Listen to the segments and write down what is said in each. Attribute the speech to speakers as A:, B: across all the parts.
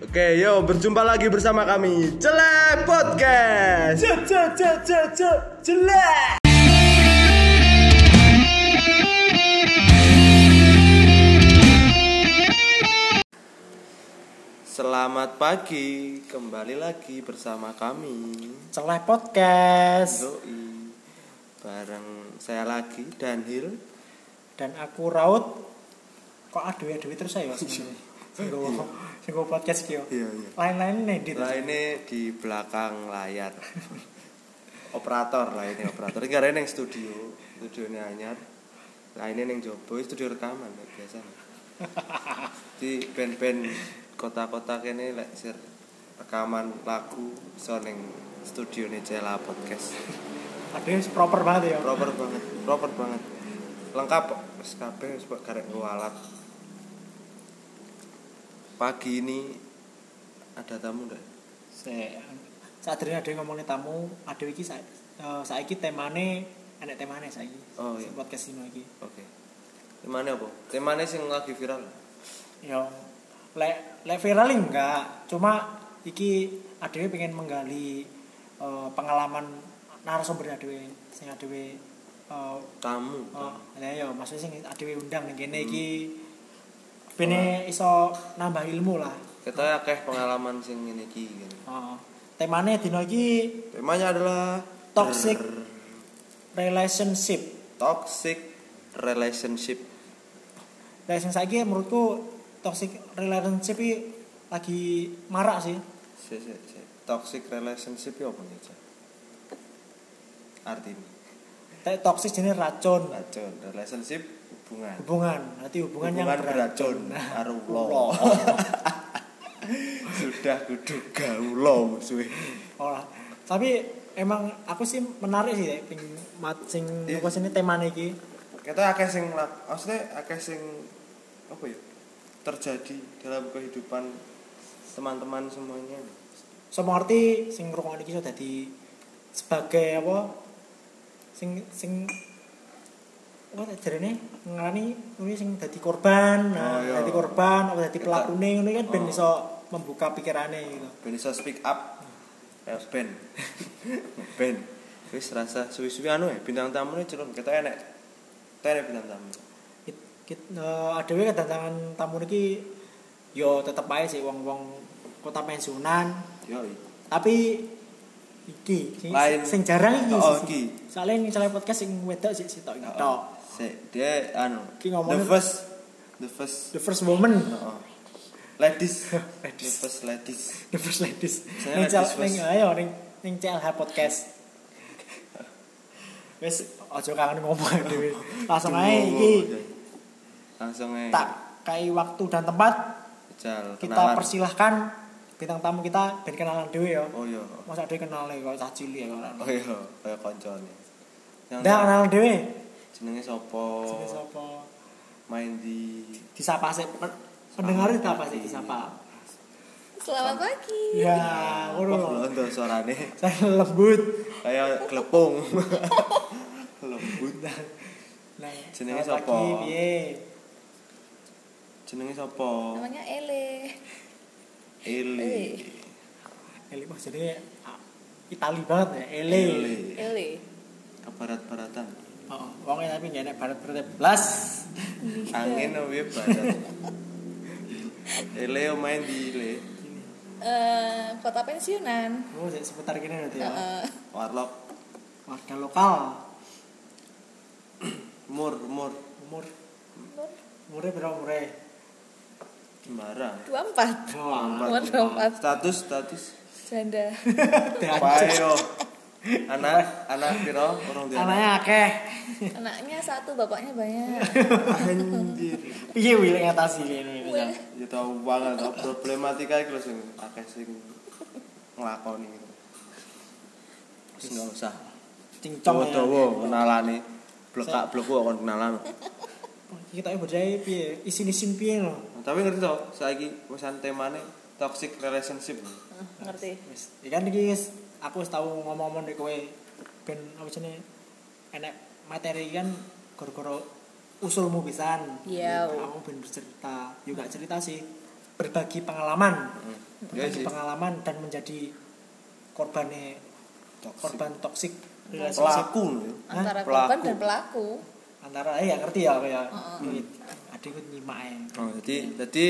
A: Oke, yo berjumpa lagi bersama kami Celek Podcast. Selamat pagi, kembali lagi bersama kami.
B: Celeh Podcast
A: Doi. Bareng saya lagi Danhil.
B: dan aku Raut kok aduh aduh terus saya mas singgung singgung podcast kyo
A: Iya, iya.
B: lain-lain nih di
A: Lah ini di belakang layar. operator lah ini operator. Enggak ada yang studio, studionya anyar. Lah ini yang jobo studio rekaman lah, biasa. Di band-band kota-kota kene lek sir rekaman lagu so ning studio nih Cela Podcast.
B: aduh proper banget ya
A: Proper banget, proper banget. Lengkap kok, wis kabeh wis kok karek nggo alat. Pagi ini ada tamu enggak?
B: saya saat ini ada yang ngomongin tamu aduh iki saya saya iki temane enak temane saya
A: Oh, iya.
B: podcast ini iki
A: Oke. Temane apa? Temane sing lagi viral.
B: yo lek lek viral enggak cuma iki aduh pengen menggali eh, pengalaman narasumber aduh sing aduh eh,
A: Tamu.
B: Oh, lah ya maksudnya sing adewe undang ning kene iki bene iso nambah ilmu lah.
A: Kita akeh pengalaman sing ngene iki. gitu. ngene.
B: Heeh. Temane dina iki
A: Temanya adalah
B: Toxic.
A: Brrr.
B: relationship.
A: toxic relationship.
B: Lah sing saiki menurutku toxic relationship iki lagi marak sih.
A: Si, si, si. Toxic relationship ya apa nih? Cak? Artinya
B: Te- Toxic jenis racun
A: racun relationship hubungan.
B: hubungan. Berarti hubungan, yang
A: beracun. Karo
B: Allah.
A: Allah. Sudah kuduga ulo musuhe.
B: Ora. Tapi emang aku sih menarik sih Dek, ping mat sing
A: Iya.
B: yeah. ini temane iki.
A: kita akeh sing lak- maksudnya akeh sing apa ya terjadi dalam kehidupan teman-teman semuanya
B: semua arti sing ngrungokne iki iso dadi sebagai apa sing sing apa tak jarene ngarani kuwi sing dadi korban,
A: Oh,
B: nah,
A: iya.
B: dadi korban apa dadi
A: Kita-
B: pelakune ngono kan ben
A: Oh.
B: iso membuka pikirane gitu.
A: ben iso speak up eh, ben ben wis rasa suwi-suwi anu ya bintang tamu ini celon kita enek kita enek bintang tamu
B: Kita ada eh, kedatangan tamu iki yo tetep ae sih wong-wong kota pensiunan
A: yoi
B: tapi iki sing,
A: Lain.
B: sing jarang iki.
A: Oh,
B: sih.
A: iki.
B: Soalnya ini celai podcast sing wedok sih sitok iki tok.
A: se dia anu
B: Ki
A: the
B: ngomongin-
A: first the first
B: The first woman.
A: oh, oh. ladies the
B: Ladies.
A: first ladies
B: The First Ladies.
A: Saya
B: Ning
A: Ladies
B: cel
A: First.
B: ning ayo ning ning CLH podcast. Wis aja kangen ngomong dhewe. Langsung ae iki
A: langsung aja
B: tak kai waktu dan tempat
A: Jal,
B: kita
A: kenalan.
B: persilahkan bintang tamu kita ben kenalan dhewe ya.
A: oh iya
B: Masa dhewe kenal kok cah cilik ya ora.
A: Oh iya, kaya koncone. Yang Oh.
B: Ndak kenal dhewe.
A: jenenge sapa?
B: Jenenge sapa?
A: Main di
B: Disapa sih Pen- pendengar disapa sih disapa.
C: Selamat pagi.
B: Ya,
A: Wah,
B: ngono.
A: londo suarane
B: Saya lembut.
A: kaya klepung. Lembut.
B: Nah,
A: Jenenge
B: selamat
A: sapa?
B: pagi, Piye?
A: Jenenge sapa?
C: Namanya Eh, Ele.
A: Eli.
B: Eli wah jadi ah, Itali banget ya Eli.
C: Ele.
A: Kebarat-baratan.
B: Oh, wongnya tapi gak enak barat barat belas.
C: Iya.
A: Angin wae barat. Ele yo main di Le.
C: Eh, kota pensiunan. Eh,
B: Oh, jadi seputar gini nanti ya.
C: Heeh.
A: Warlock.
B: Warga lokal,
A: Mur, mur.
B: umur umurnya berapa umurnya?
A: Jembara.
C: 24.
A: Oh,
B: Wah,
C: Mur, empat.
A: Status, status.
C: Janda.
B: dihancur.
A: Payo. Anak, anak piro? Orang dia.
B: Anaknya akeh.
C: Anaknya satu, bapaknya banyak.
A: Iya. Anjir.
B: Piye wil ngatasi ini?
C: Wil.
A: ya tahu banget tau problematika itu sing akeh sing nglakoni gitu. Wis enggak usah.
B: Cincong ya.
A: Dawa-dawa kenalane. Blekak-bleku kok kon kenalan.
B: Kita ibu jaya piye? Isin isin piye loh.
A: Nah, Tapi ngerti to, saiki wisan temane toxic relationship.
C: Eh, Ngerti.
B: Wis, ikan iki wis aku wis tau ngomong-ngomong nek kowe ben apa jenenge enek materi iki kan gara-gara usulmu pisan.
C: Iya. oh.
B: Aku ben bercerita, yo gak cerita sih. berbagi pengalaman
A: Hmm. Ya
B: berbagi
A: sih.
B: pengalaman dan menjadi korbannya
A: Toxic.
B: korban toksik relationship
A: Pelaku loh.
C: antara
A: Hah?
C: korban
A: Pelaku.
C: dan pelaku
B: antara eh ya ngerti ya kayak
C: Heeh.
B: Wih, ada ikut nyimak ae.
A: Oh, jadi jadi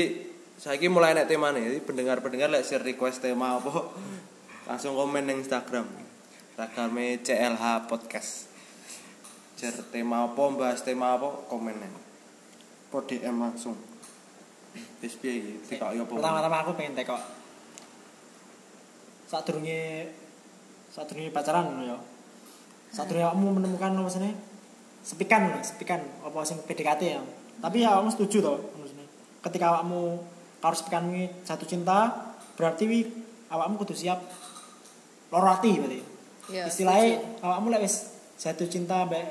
A: saiki mulai nek tema nih. Jadi pendengar-pendengar lek share request tema apa langsung komen di Instagram. Instagramnya CLH Podcast. Share tema apa, bahas tema apa, komen nih. Po DM langsung. Wis piye iki? Tikok yo apa?
B: pertama-tama aku pengen teko saat durungnya saat durungnya pacaran ngono ya saat durungnya kamu menemukan apa sini sepikan sepikan apa sing PDKT ya tapi ya kamu setuju toh maksudnya ketika kamu harus sepikan ini satu cinta berarti wi awakmu kudu siap loro ati berarti
C: Ya,
B: istilahnya
C: setuju.
B: awakmu lek wis satu cinta mbek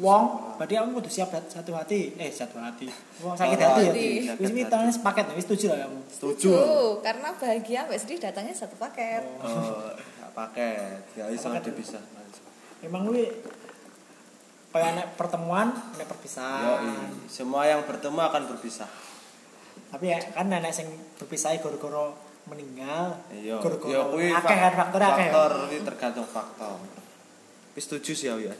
B: wong berarti kamu kudu siap satu hati eh satu hati wong sakit
A: Loro
B: hati ya
A: ati, sakit
B: wis
A: hati.
B: mitangnya sepaket wis setuju lah kamu
A: Setuju.
C: Tuh, karena bahagia sampai sedih datangnya satu paket
A: Oh, gak paket. Gak iso
B: Paket.
A: dipisah.
B: Emang lu kayak anak pertemuan, anak perpisahan.
A: Yoi. semua yang bertemu akan berpisah.
B: Tapi ya kan anak sing berpisah gara-gara meninggal.
A: Iya.
B: Gara-gara
A: Ya kuwi
B: akeh kan faktor akeh.
A: Faktor kuwi tergantung faktor. Tapi setuju sih aku ya.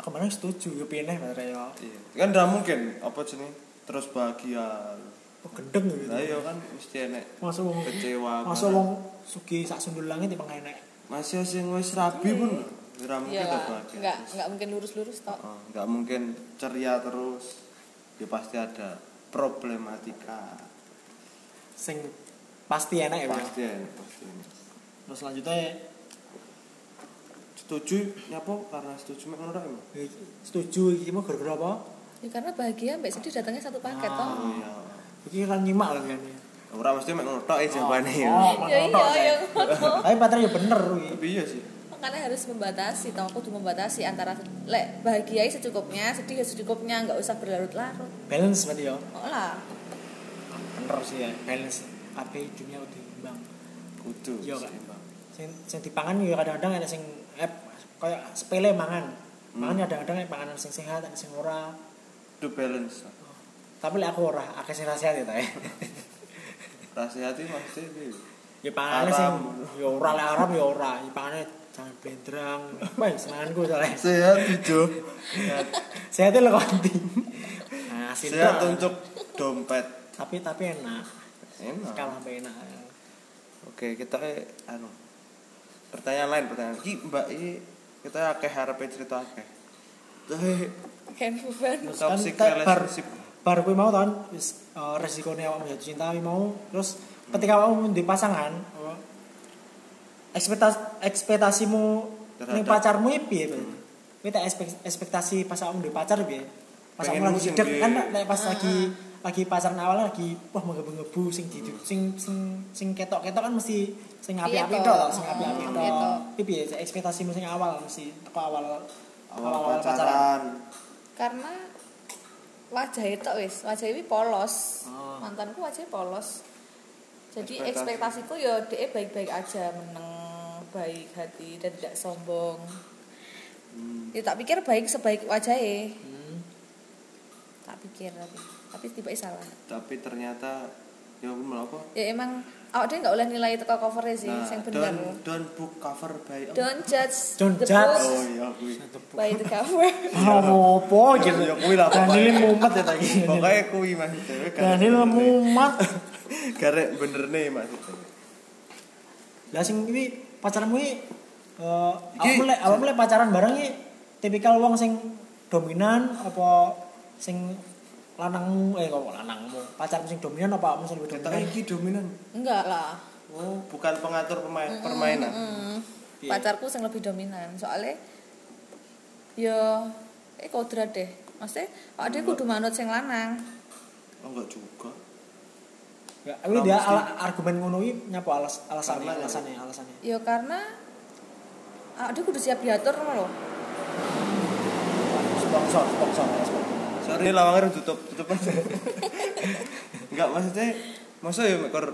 B: Aku mana setuju yo pineh bare yo.
A: Iya. Kan ndak mungkin apa jenis terus bahagia.
B: Oh, gendeng yo.
A: Lah iya kan mesti enek
B: Masuk wong
A: kecewa.
B: masuk wong sugih sak sundul langit emang enak.
A: masih sing wis rabi pun ora mungkin
C: ya
A: tak bahagia.
C: nggak nggak mungkin lurus-lurus toh
A: Heeh, nggak mungkin ceria terus. Ya pasti ada problematika.
B: Sing pasti enak ya. Bang.
A: Pasti enek, pasti. enek.
B: Terus selanjutnya
A: Setuju nyapo karena setuju mek ngono ra emang.
B: eh, setuju iki mau gara-gara apa?
C: ya karena bahagia sampai sedih datangnya satu paket toh
A: Oh
B: Hmm.
A: iya.
B: Iki kan nyimak lho kan.
A: Ora mesti mek ngono tok eh, jawabane.
B: Oh,
C: ya
A: nah,
C: iya
B: ngono-ngono,
C: ya
B: Cek. Tapi baterai yo bener kuwi.
A: Tapi iya sih.
C: makanya harus membatasi toh aku tuh membatasi antara lek bahagia ya secukupnya sedih ya secukupnya nggak usah berlarut-larut
B: Balance berarti yo.
C: oh lah
B: bener sih ya balance tapi dunia udah imbang
A: Kudu
B: Iya, Kak.
A: seimbang.
B: sing, sing dipangan ya kadang-kadang ada sing eh, kayak sepele mangan mangan ya kadang-kadang ada panganan sing sehat ada sing ora
A: Itu balance.
B: tapi lek aku ora akeh sing rahasia ya ta ya.
A: Rasa hati pasti itu.
B: ya panganan sing
A: Haram.
B: ya ora lek haram ya ora ya panganan jangan blendrang wah senenganku soalnya
A: Sehat hijau.
B: sehat itu lho kanti nah
A: Sehat
B: sinter.
A: untuk dompet.
B: tapi tapi enak
A: Enak.
B: kalah sampai enak
A: Oke, kita eh, anu. Pertanyaan lain, pertanyaan. Ki Mbak I kita akeh harape cerita akeh. Tapi
C: kan beban
B: kan
A: toxic
B: tak- bar-
A: relationship
B: baru gue mau kan wis eh, resikonya awak jatuh cinta awak mau terus ketika awak di pasangan oh, ekspektasi ekspektasimu
A: Terhadap-
B: ning pacarmu iki piye Bel? Kowe tak ekspek- ekspektasi pas awak di pacar piye pas
A: Pengen
B: awak
A: lu sing
B: lagi deg
A: piye?
B: kan lek pas
C: Ah,
B: lagi lagi pacaran awal lagi wah menggebu-gebu sing di
A: Hmm.
B: sing sing sing ketok-ketok kan mesti sing api-api
C: Iya,
B: tok
C: toh.
B: sing api-api
C: Hmm, iya,
B: tok
C: toh.
B: Iki piye ekspektasimu sing awal mesti teko awal
A: awal Oh, pacaran.
C: karena wajah itu wis wajah ini polos
B: Oh.
C: mantanku wajahnya polos jadi
A: Ekspektasi.
C: ekspektasiku ya dia baik-baik aja meneng baik hati dan tidak sombong
A: Hmm.
C: ya tak pikir baik sebaik wajahnya
B: Hmm.
C: tak pikir tapi tapi tiba salah
A: Tapi ternyata ya aku malah apa?
C: ya emang awak dia nggak boleh nilai teko covernya sih
A: Nah,
C: yang benar
A: don't, don't book cover by
C: ya. don't judge
B: Don't
C: the
B: judge.
C: book
A: Oh iya kuwi.
C: by the cover
B: Oh, apa gitu
A: Ya kuwi lah
B: Daniel
A: pokoknya.
B: mumet ya tadi.
A: Pokoknya kuwi Mas. Dewe garek
B: Daniel
A: bener nih.
B: mumet.
A: Garek bener nih Mas. Dewe.
B: Lah sing iki pacarmu iki eh
A: Iki-
B: awak mulai awak mulai pacaran bareng iki tipikal wong sing dominan apa sing lanangmu eh kok lanangmu pacarmu sing dominan apa awakmu sing lebih
A: Kita
B: dominan?
A: iki dominan.
C: enggak lah
A: Oh, bukan pengatur pemain, permainan.
C: Hmm.
B: Iya.
C: pacarku yang lebih dominan soalnya yo eh kodrat deh maksudnya oh dia kudu manut sing lanang
A: Oh, enggak juga.
B: Ya, aku
A: Nah,
B: dia
A: mesti-
B: ala- argumen ngono iki nyapa alas alasannya
A: Karena-
B: alasannya alasannya.
C: yo karena oh dia kudu siap diatur loh
B: Sponsor sponsor sponsor.
A: Sorry, ini lawangnya harus tutup, tutup aja. enggak maksudnya, masa ya mekor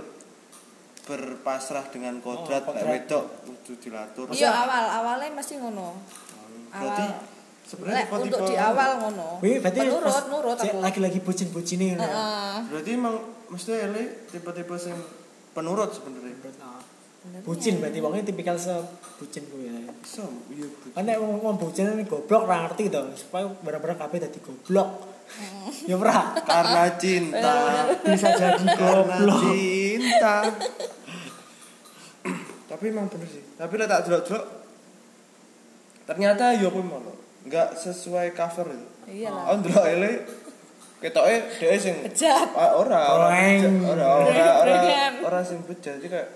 A: berpasrah dengan kodrat,
B: Oh,
A: oh,
B: kodrat.
A: wedok kudu dilatur. hmm,
C: yo awal awalnya masih ngono
A: Berarti
C: awal
A: sebenarnya
C: Lek,
A: tipe-tipe-
C: untuk di awal ngono
B: Wih, berarti
C: nurut
B: pas-
C: nurut
B: cek
C: aku
B: lagi-lagi bucin-bucine ngono. ya.
C: Heeh.
A: Berarti emang mesti ele tipe-tipe sing penurut sebenarnya.
B: Nah,
C: Bener
B: bucin
C: ya.
B: berarti wongnya tipikal sebucin gue ya.
A: Iso, iya. Bu.
B: Kan nek wong wong bucin ini goblok ra ngerti to, supaya barang-barang kabeh dadi goblok. Ya ora.
A: Karena cinta.
B: Bisa jadi
A: Karena
B: goblok.
A: cinta. Tapi emang bener sih. Tapi lek tak delok-delok ternyata yo apa mau nggak sesuai cover itu.
C: Iya lah.
A: Oh, ndelok ele ketoke dhewe sing
C: Bejat.
A: Ah, ora ora
B: Orang.
A: beja- ora ora ora
C: Bregan.
A: ora sing bejat iki kayak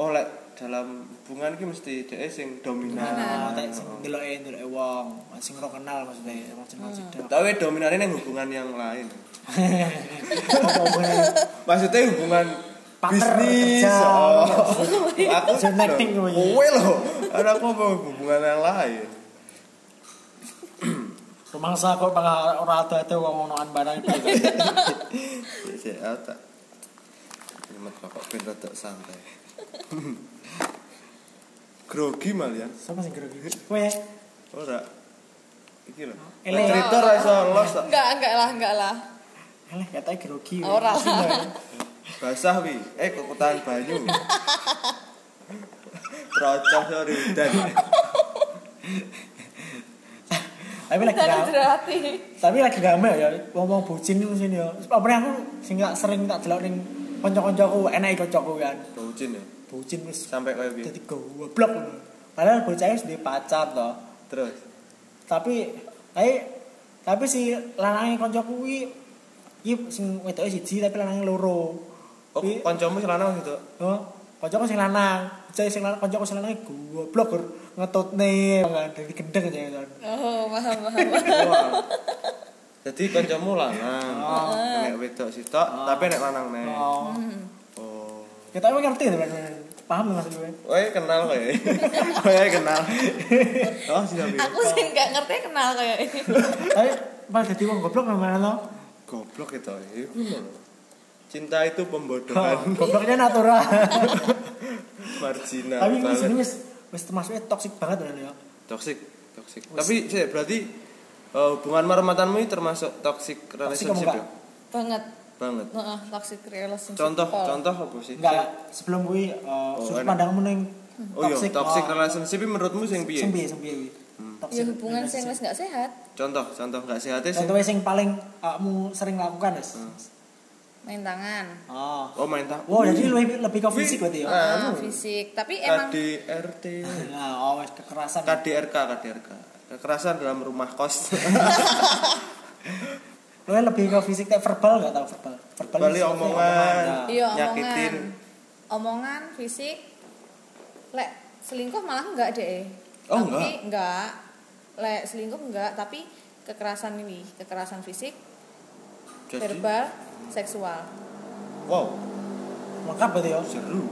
A: oh lek dalam hubungan iki mesti dhewe sing dominan.
B: Nah, tak sing ndeloke ndeloke wong, sing ora kenal maksudnya, wong sing kenal sidik.
A: Tapi dominannya neng hubungan yang lain.
B: Apa hubungannya?
A: Maksudnya hubungan
B: Partner,
A: bisnis.
B: kerja,
A: Oh. aku Oh.
B: Job acting namanya.
A: Kowe lho, ada aku apa hubungan yang lain.
B: Rumangsa kok malah ora ada-ada wong ngonoan barang itu.
A: Ya sih, aku ah, tak. Nyemet pokok ben rada santai. Grogi malian.
B: Sama sing grogi. Kowe
A: Ora. Iki lho.
B: Ele.
A: Nek Cerita ra iso los tak.
C: Enggak, enggak lah, enggak lah.
B: alah katanya grogi. weh.
C: Ora.
B: Pusing, weh.
A: basah wi. Eh kekutan banyu. Trocos sorry udan.
B: Tapi lagi
C: Jangan
B: ra-
C: jerati.
B: tapi lagi rame ya ngomong bucin itu sini ya apa aku sing gak sering tak delok ning kanca-kancaku enak kancaku kan
A: Bocin ya.
B: bucin wis
A: Sampai koyo piye?
B: dadi goblok padahal bocahnya wis duwe pacar to
A: Terus.
B: tapi tapi tapi si lanange kancaku kuwi iki sing wedoke siji tapi lanange loro
A: Oh,
B: Kuwi-
A: kancamu sing lanang gitu.
B: Oh, kancaku sing lanang, cah sing lanang, kancaku sing lanang goblok gur ngetutne kan dari gendeng aja kan.
C: Oh, paham, paham.
A: Wah. Jadi kancamu lanang.
B: Oh.
A: Nek wedok sitok,
B: Oh.
A: tapi nek lanang nek.
B: Oh.
A: Oh.
B: Kita emang ngerti to, paham maksud gue.
A: Woi kenal kok ya. Woi kenal. Oh, siapa ya?
C: Aku sih enggak ngerti kenal kayak ini.
B: Tapi malah jadi wong goblok gimana lo?
A: Goblok itu. ya. Cinta itu pembodohan
B: Oh, Gobloknya natural.
A: marginal.
B: Tapi di
A: banget.
B: sini wis wis termasuknya toksik banget kan ya.
A: toxic toxic tapi sih berarti eh, hubungan marmatanmu ini termasuk toxic
B: Toksik
A: relationship
B: enggak?
A: ya?
C: Banget.
A: banget
C: Heeh, toxic relationship.
A: contoh
C: Pol.
A: contoh apa sih
B: Enggak lah. sebelum gue uh, sudut
A: Iya. enak.
B: pandangmu ning
A: oh iya toxic
B: oh,
A: relationship ini menurutmu sing
B: sing
A: piye Hmm.
B: piye sing piye kuwi.
C: Ya hubungan sing wis enggak sehat,
A: contoh contoh nggak sehatnya sih
B: Contohnya sing paling kamu sering lakukan wis.
A: Hmm.
C: main tangan.
A: oh
B: Oh.
A: main tak
B: Wow, jadi lebih lebih ke fisik berarti ya.
A: Ah,
C: Ah,
A: anu.
C: fisik. Tapi emang
A: KDRT
B: Nah, oh wes kekerasan.
A: KDRK KDRK kekerasan dalam rumah kos
B: Lu lebih ke fisik kayak verbal enggak tahu verbal. Verbal
A: Bali
B: itu
A: ya, omongan
B: nah.
C: Iya
A: nyakitin
C: omongan. Omongan fisik. Lek selingkuh malah enggak deh.
A: Oh,
C: tapi enggak. Lek selingkuh enggak, tapi kekerasan ini, kekerasan fisik,
A: jadi
C: verbal, seksual.
A: wow
B: Lengkap berarti ya.
A: seru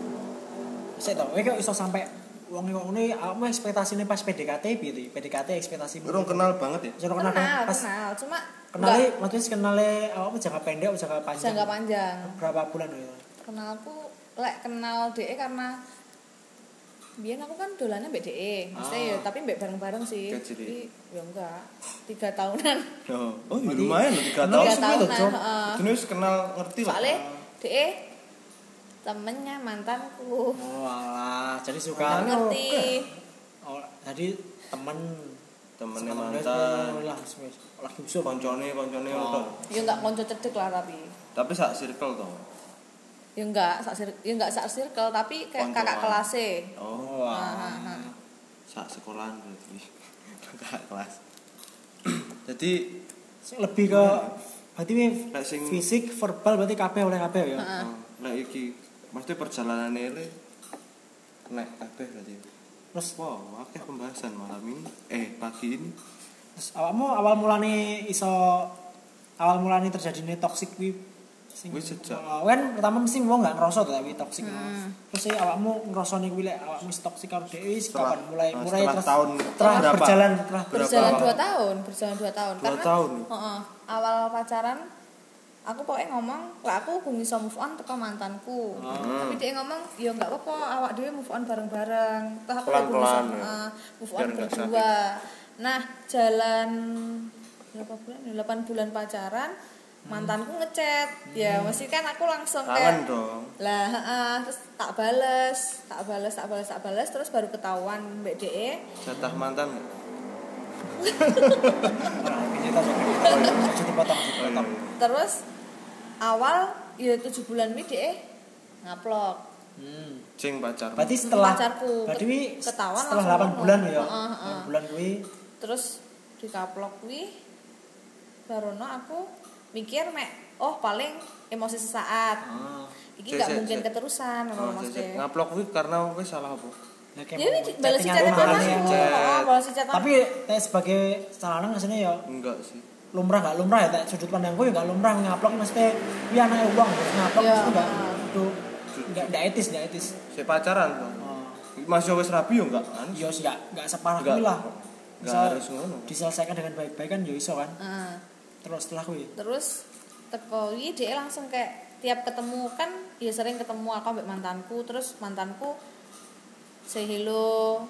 B: Saya tahu, kok iso sampai wong kok ngene aku ekspektasine pas PDKT piye tuh? PDKT ekspektasi
A: orang kenal banget ya
B: Jangan kenal
C: Kenal,
B: dong.
C: kenal,
B: pas
C: Cuma
B: kenale
C: enggak
B: maksudnya kenale apa jangka pendek apa jangka panjang.
C: jangka panjang.
B: Berapa bulan ya?
C: Kenalku lek kenal DE karena Biar aku kan dolannya mbek DE, maksudnya ya,
B: Ah.
C: tapi mbek bareng-bareng sih.
A: Kecil, ya?
C: Tapi ya enggak, tiga tahunan.
A: oh, oh ya lumayan loh tiga
B: Kenal
A: tahun
C: Tiga
B: sih, gitu,
C: tahunan,
B: Cok.
C: heeh.
A: terus kenal ngerti lah
C: Eh. soalnya de temennya mantanku
B: Oh, alah, jadi
C: Nggak
B: suka.
C: ngerti
B: Oh, jadi temen
A: temennya
B: Sama temen,
A: mantan
B: lah, wis. Lagi musuh
A: koncone koncone
B: Oh.
A: udah
C: ya nggak konco cedek lah tapi
A: tapi sak circle toh
C: ya nggak sak sir- ya nggak sak circle tapi kayak
A: Koncoan.
C: kakak kelas e
A: oh
C: Nah, nah, nah.
A: sak sekolahan berarti kakak kelas jadi
B: Sing lebih ke berarti ini
A: Kayak sing-
B: fisik verbal berarti kabeh oleh kabeh ya.
C: Heeh.
A: nek oh, iki mesti perjalanan ini nek kabeh berarti
B: Terus
A: wow akeh pembahasan malam ini eh pagi ini
B: Terus awakmu awal mulane iso awal mulane terjadine toxic kuwi sing
A: Wis sejak.
B: Oh, kan pertama mesti wong gak ngerasa to tapi toxic.
C: Hmm.
B: Terus eh, awakmu ngrasani kuwi lek awakmu wis toxic karo dhewe wis
A: Setelah-
B: kapan mulai
A: eh,
B: mulai
A: setelah
B: terus
A: tahun
B: terus
A: berapa?
B: berjalan terus
A: Berapa?
C: berjalan dua tahun berjalan dua tahun
A: Dua tahun?
C: heeh, awal pacaran aku pokoknya ngomong lah aku belum bisa move on teko mantanku
A: Hmm.
C: tapi dia ngomong ya nggak apa-apa awak dhewe move on bareng-bareng Toh aku belum bisa
A: Pelan-pelan, ya.
C: eh, move on
A: Biar nggak
C: berdua nah jalan berapa bulan 8 bulan ya? pacaran mantanku ngechat ya mesti kan aku langsung
A: Hmm. kangen
C: kayak
A: dong
C: lah heeh, terus tak bales tak bales tak bales tak bales terus baru ketahuan mbak DE
A: jatah mantan nggak?
B: kita jadi dipotong
A: Oh, iya.
C: terus awal ya tujuh bulan ini DE ngaplok
B: hmm.
A: cing pacar
B: berarti setelah
C: Hmm, Pacarku
B: berarti wi
C: ketahuan
B: setelah 8
C: langsung ngomong.
B: bulan ya
C: Heeh, heeh.
B: 8 bulan wi
C: terus dikaplok wih barono aku mikir mek oh paling emosi sesaat
A: ah.
C: iki
A: Cek,
C: nggak
A: cek,
C: mungkin
A: cek.
C: keterusan
A: Oh,
C: ngono
A: cek,
C: Mas
A: cek.
C: DE.
A: ngaplok kuwi karena wis salah apa
B: ya
C: Ya ini di- balas
B: chattingan orang
C: chat
A: balas
B: ya.
C: mantanku.
A: chat.
C: Heeh, balas chat
B: tapi teh sebagai sarana nggak sini ya
A: enggak sih
B: lumrah nggak lumrah ya teh sudut pandangku ya nggak lumrah ngaplok maksudnya wi anak uang terus ngaplok
A: Iya.
C: Ya.
B: itu nggak itu nggak nggak etis nggak etis
A: si pacaran kok
B: oh.
A: Mas Yowes rabi yo enggak kan?
B: ya sih nggak nggak separah
A: Nggak.
B: kuwi lah
A: Enggak
B: Misal-
A: harus ngono.
B: diselesaikan dengan baik-baik kan ya iso kan
C: Heeh.
B: terus setelah kuwi
C: terus teko iki dia langsung kayak tiap ketemu kan ya sering ketemu aku ambek mantanku terus mantanku say hello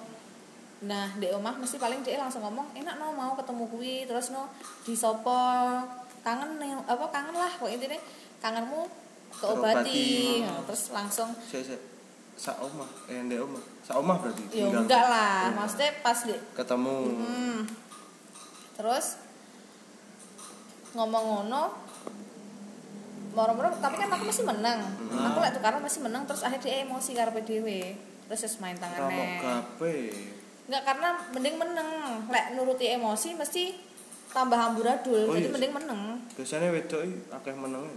C: nah di omah mesti paling dia langsung ngomong enak no mau ketemu kuwi terus no di sopo kangen nih- apa kangen lah kok intinya kangenmu keobati
A: Terobati.
C: Nah, terus langsung
A: Sik sik. Sak omah, eh ndek omah. Sak omah berarti.
C: ya
A: tinggal.
C: enggak lah maksudnya pas di
A: Ketemu.
C: Hmm. Terus ngomong ngono moro-moro tapi kan aku masih menang.
A: Hmm.
C: Aku lek tukaran masih menang terus akhirnya dia emosi karo dhewe. Terus wis main
A: Ramok
C: tangannya.
A: gape.
C: Enggak karena mending menang. Lek nuruti emosi mesti tambah amburadul.
A: Oh,
C: Jadi
A: iya.
C: mending menang.
A: Biasanya wedok iki akeh meneng.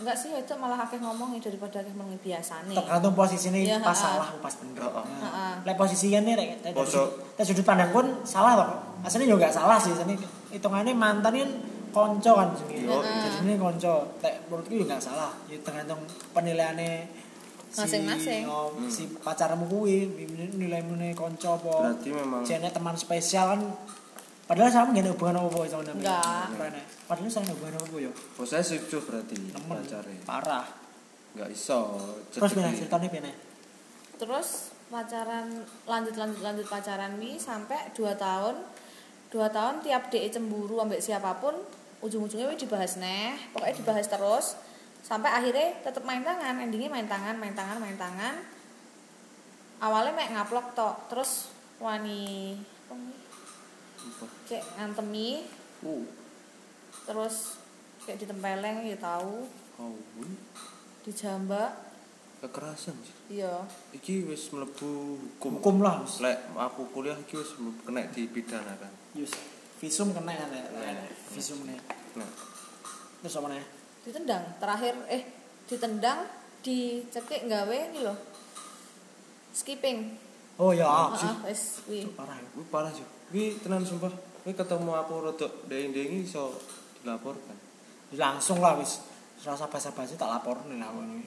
C: Enggak sih itu malah akeh ngomong ya, daripada akeh mengenai biasa nih.
B: tergantung posisinya
C: Iya,
B: pas
C: ha-ha.
B: salah pas bener
A: Ha-ha.
B: nah,
C: Ha-ha.
B: lek posisinya nih lek dari
A: Poso.
B: sudut- dari sudut pandang pun salah toh aslinya juga nggak salah sih ini hitungannya mantan kan konco kan
A: Yo.
B: jadi ini konco lek menurutku juga nggak salah ya tergantung penilaiannya si-
C: Masing-masing.
B: oh,
A: Hmm.
B: si pacarmu kuwi nilai nilai konco apa
A: Berarti memang
B: jenek teman spesial kan padahal sama gak ada hubungan apa-apa sama dia.
C: Nggak.
B: Keren, ya. padahal sama ada hubungan apa-apa ya
A: posesif cuh berarti
B: temen
A: pacare.
B: parah
A: Enggak iso.
B: terus
A: cedeki.
B: bener ceritanya bener
C: terus pacaran lanjut lanjut lanjut pacaran wi sampai 2 tahun 2 tahun tiap DE cemburu ambek siapapun ujung-ujungnya wi dibahas neh pokoknya dibahas terus sampai akhirnya tetap main tangan endingnya main tangan main tangan main tangan awalnya mek ngaplok tok terus wani apa nih?
A: Apa?
C: kayak ngantemi
A: Oh,
C: terus kayak ditempeleng ya tahu
A: kau ini
C: dijambak
A: kekerasan sih.
C: iya
A: Iki wis mlebu hukum.
B: hukum lah Mas.
A: Lek aku kuliah iki wis mlebu- kena dipidana kan.
B: Yus, visum kena kan ya?
A: Kena.
B: Visum nih.
A: Nah,
B: Terus apa nih?
C: ditendang terakhir eh ditendang dicekik nggawe ini loh skipping
B: Oh ya,
C: ah
B: sih.
C: ah, wes kuwi
B: Parah ya.
A: Wih parah sih. Wih tenan sumpah. Wih ketemu aku rodok deng-dengi iso dilaporkan.
B: Langsung lah wis. Rasa basa-basi tak lapor nih lah ini.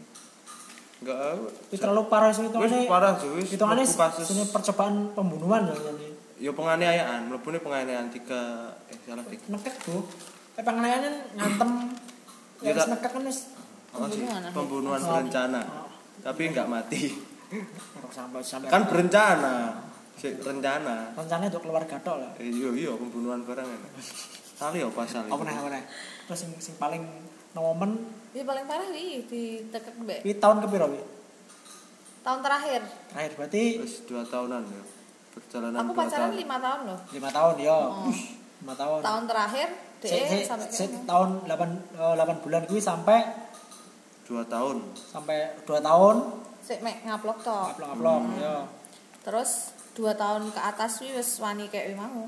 A: Enggak aku.
B: Tapi terlalu parah sih itu
A: Wis parah sih wis.
B: Itu
A: mlebu kasus.
B: ini percobaan pembunuhan loh ini.
A: Ya penganiayaan, mlebune penganiayaan tiga eh salah tiga.
B: Nekek tuh. Tapi pengenaiannya ngantem. Ya
A: Iya,
B: wis
A: Kak.
B: nekek kan wis.
A: Apa sih?
C: Pembunuhan, akhir.
A: Pembunuhan
B: Oh.
A: berencana.
B: Oh.
A: Tapi enggak mati.
B: Orang sampai sampai.
A: Kan berencana. Sik rencana.
B: rencananya untuk keluarga tok lah.
A: Eh, Iya iya pembunuhan barang kan. Sali ya pas sali.
B: Apa nih apa nih? Terus sing sing paling nomen
C: ya paling parah wi ditekek mbek
B: kuwi tahun kepiro wi?
C: tahun terakhir
B: Terakhir berarti
A: Wis 2 tahunan ya. Perjalanan
C: aku
A: dua
C: pacaran
A: tahun.
C: lima tahun loh
B: 5 tahun ya.
C: Oh.
B: 5 tahun.
C: tahun terakhir
B: Sik-
C: deh
B: sik-
C: sampai
B: sik
C: kene.
B: tahun 8 eh, 8 bulan kuwi sampai
A: 2 tahun.
B: sampai 2 tahun
C: sik mek ngaplok tok
B: upload-upload ya.
C: terus dua tahun ke atas wi wis wani kayak wi mau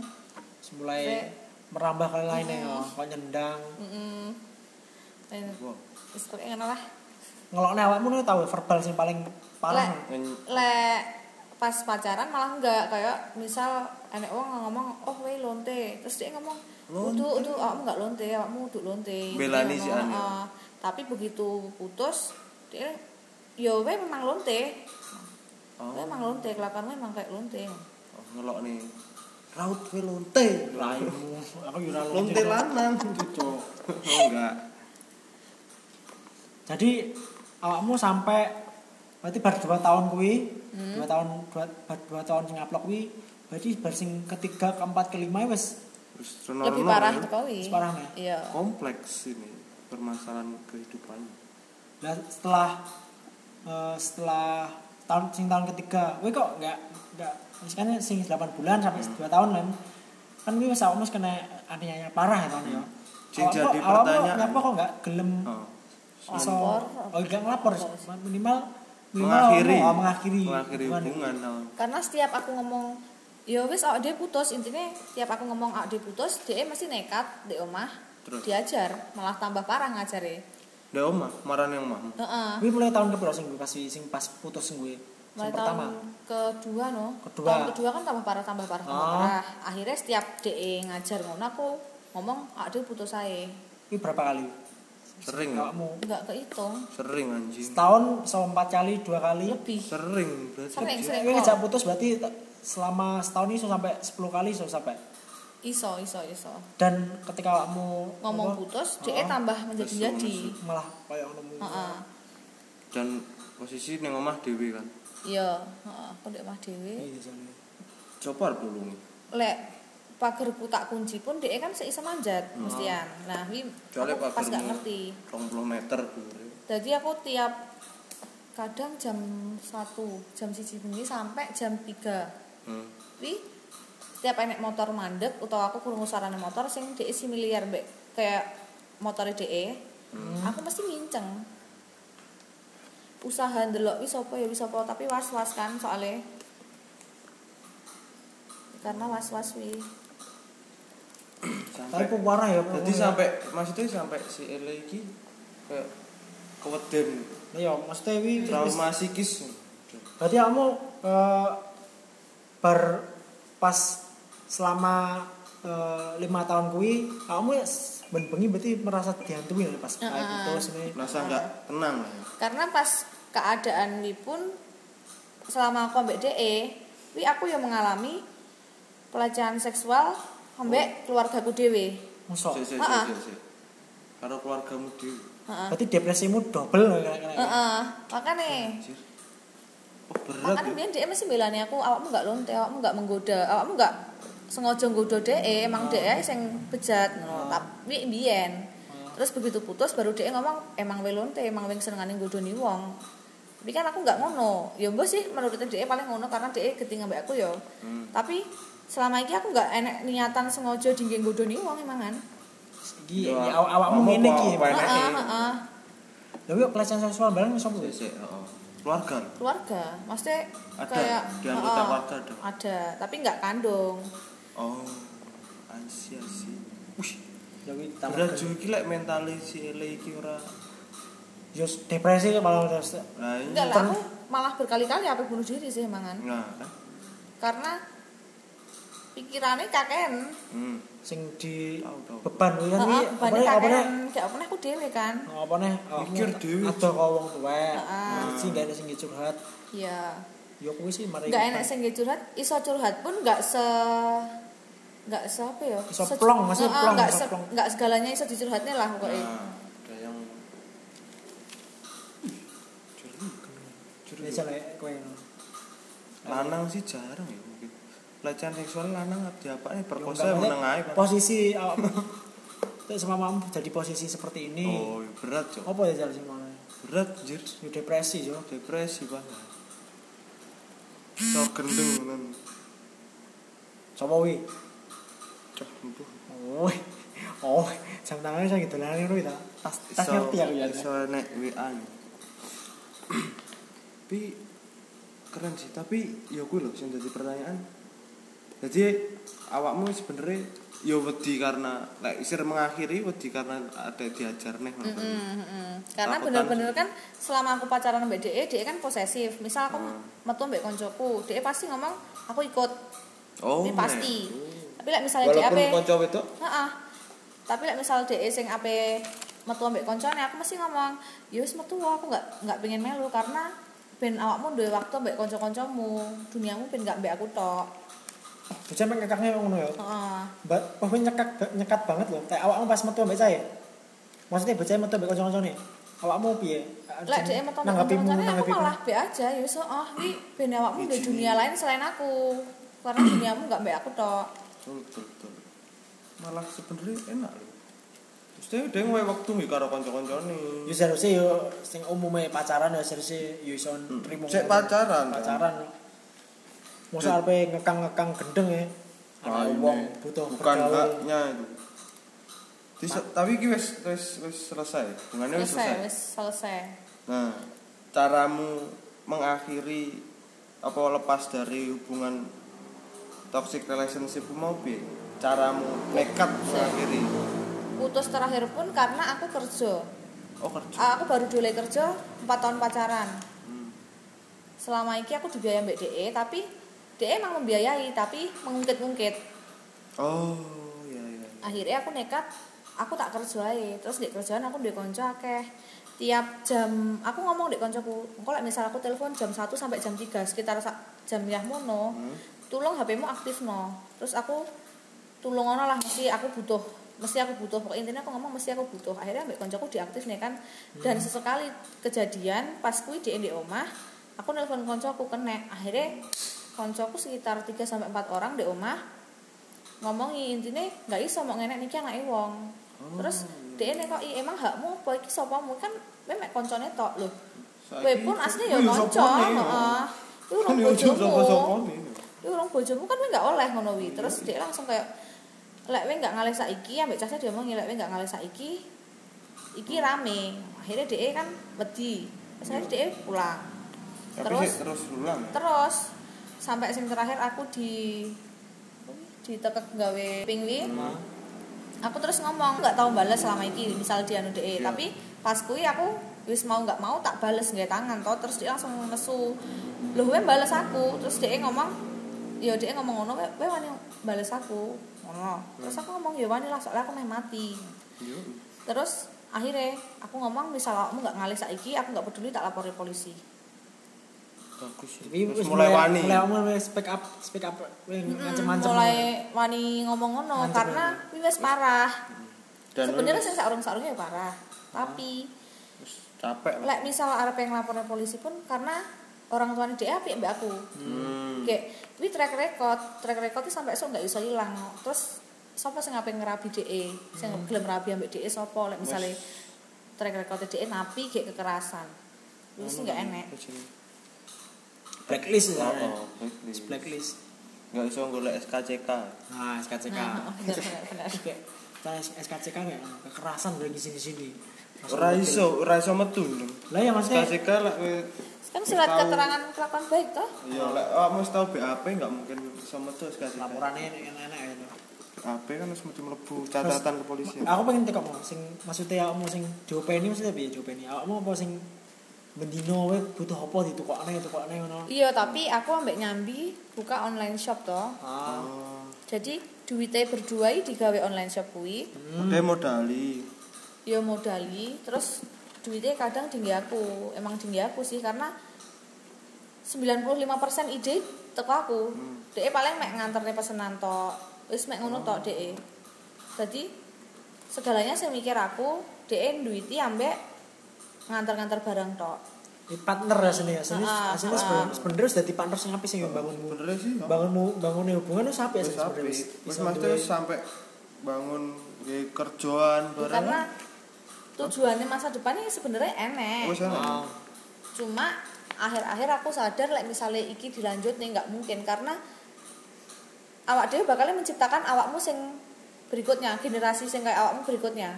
B: Mulai
C: Sik.
B: merambah ke lain ya,
C: Mm.
B: kok nyendang.
C: heeh
A: Wah,
C: wis pokoke ngono lah
B: Ngelokne awakmu nih tahu verbal sing paling parah.
A: nyen-
C: lek pas pacaran malah enggak kayak misal enek wong ngomong oh weh lonte terus dia ngomong
A: Lonte.
C: udu udu awakmu enggak lonte awakmu udu lonte
A: Belani
C: Dia
A: si Anu.
C: ngomong, "Ah." tapi begitu putus dia yo weh memang lonte
A: Oh.
C: weh memang lonte kelakuanmu memang kayak lonte
A: Oh, ngelok nih raut we lonte
B: Raimu, aku yura
A: lonte lanang cocok oh enggak
B: Jadi awakmu sampai berarti bar 2 tahun kuwi, 2 tahun dua, bar 2 tahun sing upload kuwi berarti bar sing ketiga, keempat, kelima wis
A: terus
C: lebih
A: renor-renor
C: parah
A: ya.
C: tuh kowe
B: separah nih.
C: iya
A: kompleks ini permasalahan kehidupan
B: Lah setelah eh, setelah tahun sing tahun ketiga, wih kok nggak nggak misalnya sing 8 bulan sampai
A: Hmm.
B: 2 tahun kan kan gue bisa almost kena aniaya parah ya tahun ya.
A: Hmm. Sing
B: Awakmu-
A: jadi
B: awakmu
A: pertanyaan.
B: Kenapa kok nggak gelem
A: oh.
B: iso
C: Lapor.
B: oh nggak ngelapor minimal minimal
A: mengakhiri
B: awakmu- oh, mengakhiri
A: mengakhiri hubungan oh.
C: karena setiap aku ngomong ya wis awak dia putus intinya tiap aku ngomong awak dia putus dia masih nekat di omah
A: Terus?
C: diajar malah tambah parah ngajare
A: Ndak omah, marah yang omahmu.
C: Heeh.
B: Gue mulai tahun ke sing gue kasih sing pas putus sing gue. Sing
C: Mulai
B: pertama.
C: tahun kedua no
B: Kedua.
C: tahun kedua kan tambah parah tambah parah tambah
B: Ah.
C: parah akhirnya setiap de ngajar ngono aku ngomong awak dia putus saya
B: Ini berapa kali?
A: Sering ya?
B: Awakmu
C: nggak kehitung
A: Sering anjing.
B: setahun so empat kali dua kali.
C: lebih
A: Sering berarti.
C: Sering,
A: anjing.
C: sering.
B: Gue ngejak putus berarti t- selama setahun ini so sampai 10 kali so sampai.
C: iso iso iso
B: Dan ketika awakmu
C: ngomong
B: apa,
C: putus
B: Ah.
C: dia tambah menjadi jadi
A: Nesu-nesu.
B: malah kayak nemu.
C: Heeh.
A: Dan posisi ning omah dhewe kan.
C: iya heeh aku di omah dhewe
B: Iya, soalnya.
A: Copar pulungi.
C: lek pager ku tak kunci pun dia kan seisa manjat
B: Ah.
A: Hmm.
C: mestian nah ini
A: Soale
C: aku pas
A: pagermu.
C: gak ngerti
A: 20 meter dhuwure.
C: jadi aku tiap kadang jam 1 jam siji bengi sampai jam 3
A: Hmm.
C: tapi tiap enek motor mandek utawa aku kurungu sarana motor sing dia similar mbek kayak motor DE aku mesti nginceng usaha ndelok wis apa ya wis apa tapi was-was kan soalnya karena was-was wi
A: Sampai
B: Tapi kok warna ya.
A: Jadi sampai maksudnya sampai si Ele iki kayak keweden
B: Iya, maksudnya wi
A: trauma psikis.
B: berarti kamu eh, ber pas selama eh, lima tahun kui kamu ben bengi berarti merasa dihantui nih pas kayak
C: Heeh.
B: putus nih
A: Merasa nggak tenang lah ya.
C: karena pas keadaan wi pun selama aku ambek DE wi aku yang mengalami pelecehan seksual ambek keluargaku dhewe
B: musuh
A: Sik sik
C: Ah, ah.
A: sik, sik sik. Karo keluargamu dhewe.
C: heeh
B: berarti depresimu double nih kena kena
C: heeh makane
A: Anjir. Oh, berat
C: makane
A: ya.
C: biyen DE kan mesti belani aku awakmu gak lonte awakmu gak menggoda awakmu gak sengaja nggoda DE emang DE sing
A: Ah.
C: bejat ngono tapi biyen terus begitu putus baru DE ngomong emang we lonte emang wing senengane nggodoni wong tapi kan aku nggak ngono ya mbak sih menurutnya DE paling ngono karena DE geting ambek aku yo
A: Hmm.
C: tapi selama ini aku nggak enek niatan sengaja dinggih nggodoni wong emangan
B: gini
A: Ya,
B: aw awakmu
A: kamu
B: ngene
A: kok
B: iki
A: apa enak?
C: heeh
A: Enek.
C: heeh
B: tapi kok pelecehan seksual bareng musuh
A: Sik sik, heeh. Keluarga.
C: keluarga maksudnya
A: Ada,
C: kayak
A: di anggota
C: heeh,
A: keluarga ada.
C: ada tapi nggak kandung
A: Oh, ansi ansi. Wih,
B: ya kui tambah
A: berat juga iki lek mentale si Ele iki ora.
B: yo depresi malah terus
A: Nah, ini-
C: enggak lah aku malah berkali-kali apa bunuh diri sih emangan
A: Nah, kan.
C: karena pikirannya kaken
A: Hmm.
B: sing di
A: Tahu, tahu.
B: beban kui kan
C: heeh
B: kui apa
C: bebannya
B: nih apa nih
C: kaken kayak apa nih aku dewe kan
B: apa nih
A: Mikir dhewe.
B: ada kau wong tua
C: Heeh.
B: sih gak ada sing curhat
C: iya
B: ya kui sih mari
C: nggak
B: kita-
C: enak sing nggih curhat iso curhat pun nggak se nggak se apa ya
B: Iso
C: Se-
B: plong, maksudnya
C: Heeh,
B: plong,
C: nggak
B: iso
C: se-
B: plong. Hmm.
C: nggak segalanya iso dicurhatnya lah pokoknya
A: Nah, ada yang Juri, juri.
B: Biasa lah ya, kowe ngono.
A: lanang sih jarang ya mungkin. Pelecehan seksual lanang apa diapakne
B: Enggak,
A: perkosa
B: maksudnya
A: meneng ae. Pak.
B: Posisi awakmu. Terus sama kamu jadi posisi seperti ini.
A: Oh, iya, berat, Cok.
B: Apa ya jalan sih mana?
A: Berat anjir.
B: Yo depresi yo.
A: Depresi banget. So gendeng ngono.
B: Sapa wi?
A: Cok, empuh.
B: Oh. Oh, jam tangannya saya gitu lari itu Tas tas
A: Iso-
B: ngerti aku ya.
A: iso nek WA nih. tapi keren sih tapi ya gue loh yang jadi pertanyaan jadi awakmu sebenarnya ya wedi karena lek isir mengakhiri wedi karena ada diajar nih ngono.
C: Mm-mm, mm-mm. Karena
A: Takutan
C: bener-bener
A: sih.
C: kan selama aku pacaran sama DE, DE kan posesif. Misal aku
A: Hmm.
C: metu mbek koncoku, DE pasti ngomong aku ikut.
A: oh
C: Ini pasti. Tapi lek
A: nek.
C: misalnya DE
A: walaupun
C: ape,
A: konco itu
C: heeh. Tapi lek misal DE sing ape metu mbek koncone, aku mesti ngomong, "Ya wis metu wae, aku nggak nggak pengen melu karena ben awakmu duwe waktu mbek kanca-kancamu, duniamu ben gak mbek aku tok."
B: Bocah mek ngekaknya ngono ya.
C: Heeh.
B: Mbak, oh wi nyekak nyekat banget loh. Kayak awakmu pas metu mbek saya. Maksudnya bocah metu mbek kanca-kancane. Awakmu piye? Ah,
C: Lek DE metu mbek
B: Nanggapimu,
C: koncone, aku
B: nanggapimu.
C: malah mbek aja, ya wis oh, iki ben awakmu duwe
A: Ijini.
C: dunia lain selain aku. Karena duniamu gak mbek aku tok.
A: betul betul, betul. malah sebenarnya enak loh Terus dia dia ngewe waktu nih karo kanca-kancane.
B: yo seharusnya yo sing umumnya pacaran yo seharusnya yo iso nrimo
A: Hmm. Cek pacaran. kan?
B: pacaran masa arepe ngekang-ngekang gendeng ya
A: Ah,
B: ada
A: ini.
B: wong butuh
A: bukan
B: Nah. pergaulan.
A: haknya itu. Di, tapi iki wis wis wis selesai. Hubungannya Ya wis
C: selesai
A: selesai.
C: wis selesai
A: Nah, caramu mengakhiri apa lepas dari hubungan toxic relationship mau piye? Caramu nekat mengakhiri.
C: putus terakhir pun karena aku kerja
A: Oh, kerja.
C: Ah, aku baru dole kerja 4 tahun pacaran
A: Hmm.
C: selama ini aku dibiayai mbak DE tapi DE emang membiayai tapi mengungkit-ungkit
A: Oh, iya iya.
C: akhirnya aku nekat aku tak kerja aja terus di kerjaan aku di konco akeh tiap jam aku ngomong di koncoku engko lek misal aku telepon jam 1 sampai jam 3 sekitar sa- jam ya mono
A: Hmm.
C: tulung HP-mu aktif no terus aku tulung ono lah mesti aku butuh mesti aku butuh pokoknya intinya aku ngomong mesti aku butuh akhirnya ambek koncoku diaktif nih kan
A: Hmm.
C: dan sesekali kejadian pas kui di di omah aku nelpon koncoku kene akhirnya koncoku sekitar 3 sampai 4 orang di omah ngomongi intine nggak iso mau ngenek niki anake wong.
A: Oh,
C: Terus dhek nek kok "I, emang hakmu apa iki sopamu kan memek koncone tok lho.
A: Saiki-
C: Kowe pun asli ya
A: Wih,
C: kanca,
A: Ah, sopone,
C: heeh. Iku
A: Kan
C: urung
A: yo
C: bojomu.
A: sapa-sapane.
C: Iku urung bojomu kan kowe nggak oleh ngono wi. Terus dhek langsung kayak lek kowe nggak ngalih saiki ambek casnya dia ngomong lek kowe nggak ngalih saiki iki rame. Akhirnya dhek kan wedi. Terus akhirnya dhek pulang.
A: Tapi
C: Terus?
A: sik, terus ulang.
C: Terus sampai sing terakhir aku di ditekek gawe pingwi
A: Nah,
C: aku terus ngomong nggak tahu balas selama ini misal dia nude
A: Iya.
C: tapi pas kui aku wis mau nggak mau tak bales nggak tangan toh terus dia langsung nesu loh gue bales aku terus dia ngomong ya dia ngomong ngono gue wani bales aku ngono terus aku ngomong ya wani lah soalnya aku meh mati
A: yo.
C: terus akhirnya aku ngomong misal kamu nggak ngalih saiki aku nggak peduli tak lapori polisi
A: Bagus.
B: Tapi
A: Terus
B: wis
A: mulai wani.
B: mulai mulai speak up speak up weh,
A: Hmm.
B: ngancem-ngancem
A: ya.
C: Hmm, mulai wani ngomong ngono
B: Ngancem
C: karena kui wis parah
A: Dan
C: sebenarnya
A: wis-
C: sih saurung saurungnya parah tapi
A: wis capek lah.
C: lek misal arep yang laporan polisi pun karena orang tuanya dia apik mbak aku
A: Hmm.
C: kayak wi track record track record itu sampai so nggak bisa hilang terus siapa sih ngapain ngerabi DE sing
A: Hmm.
C: gelem ngerabi ambek DE siapa lek misalnya track record DE napi kayak kekerasan itu sih nggak enak
B: blacklist ya
A: Oh, blacklist.
B: blacklist
A: Nggak iso golek SKCK.
B: nah SKCK
C: nah benar-benar
B: kayak cara SKCK kayak kekerasan dari sini-sini Masuk
A: Ora
B: mobil.
A: iso, ora iso metu. Ndung.
B: lah ya maksudnya
A: SKCK lek kowe-
C: kan surat
A: Tahu.
C: keterangan kelakuan baik toh
A: Iya, lek awakmu wis tau BAP nggak mungkin iso metu SKCK.
B: laporannya enak-enak ya itu.
A: BAP kan harus mesti mlebu catatan kepolisian.
B: aku pengen tekok mau sing maksudnya awakmu sing diopeni maksudnya piye diopeni awakmu apa sing bendino we butuh apa ditukokne tukokne ngono
C: iya tapi aku ambek nyambi buka online shop toh
B: ah
A: Oh.
C: jadi duitnya berdua iki digawe online shop kuwi
A: Udah modali.
C: ya modali terus duitnya kadang tinggi aku emang tinggi aku sih karena 95% ide teko aku
A: Hmm.
C: DE paling mek nganterne pesenan tok wis mek ngono
A: Oh.
C: tok DE jadi segalanya saya mikir aku DE duiti ambek nganter-nganter barang tok
B: Ini partner rasanya ya sini
C: Ah, ah,
B: aslinya
C: ah.
B: sebenarnya sebenarnya sudah di partner sing apa sing bangun
A: Bener sih. ya.
B: bangun bangun hubungan itu apa ya
A: Wis
B: sih sebenarnya
A: apik.
B: wis
A: Wis
B: bisa
A: mesti
B: duwe-
A: wis sampe bangun nggih kerjaan bareng.
C: karena tujuannya masa depannya sebenarnya enek
A: Oh, Wis enak.
B: Ah,
C: cuma akhir-akhir aku sadar like misalnya iki dilanjut nih nggak mungkin karena awak dhewe bakal menciptakan awakmu sing berikutnya generasi sing kayak awakmu berikutnya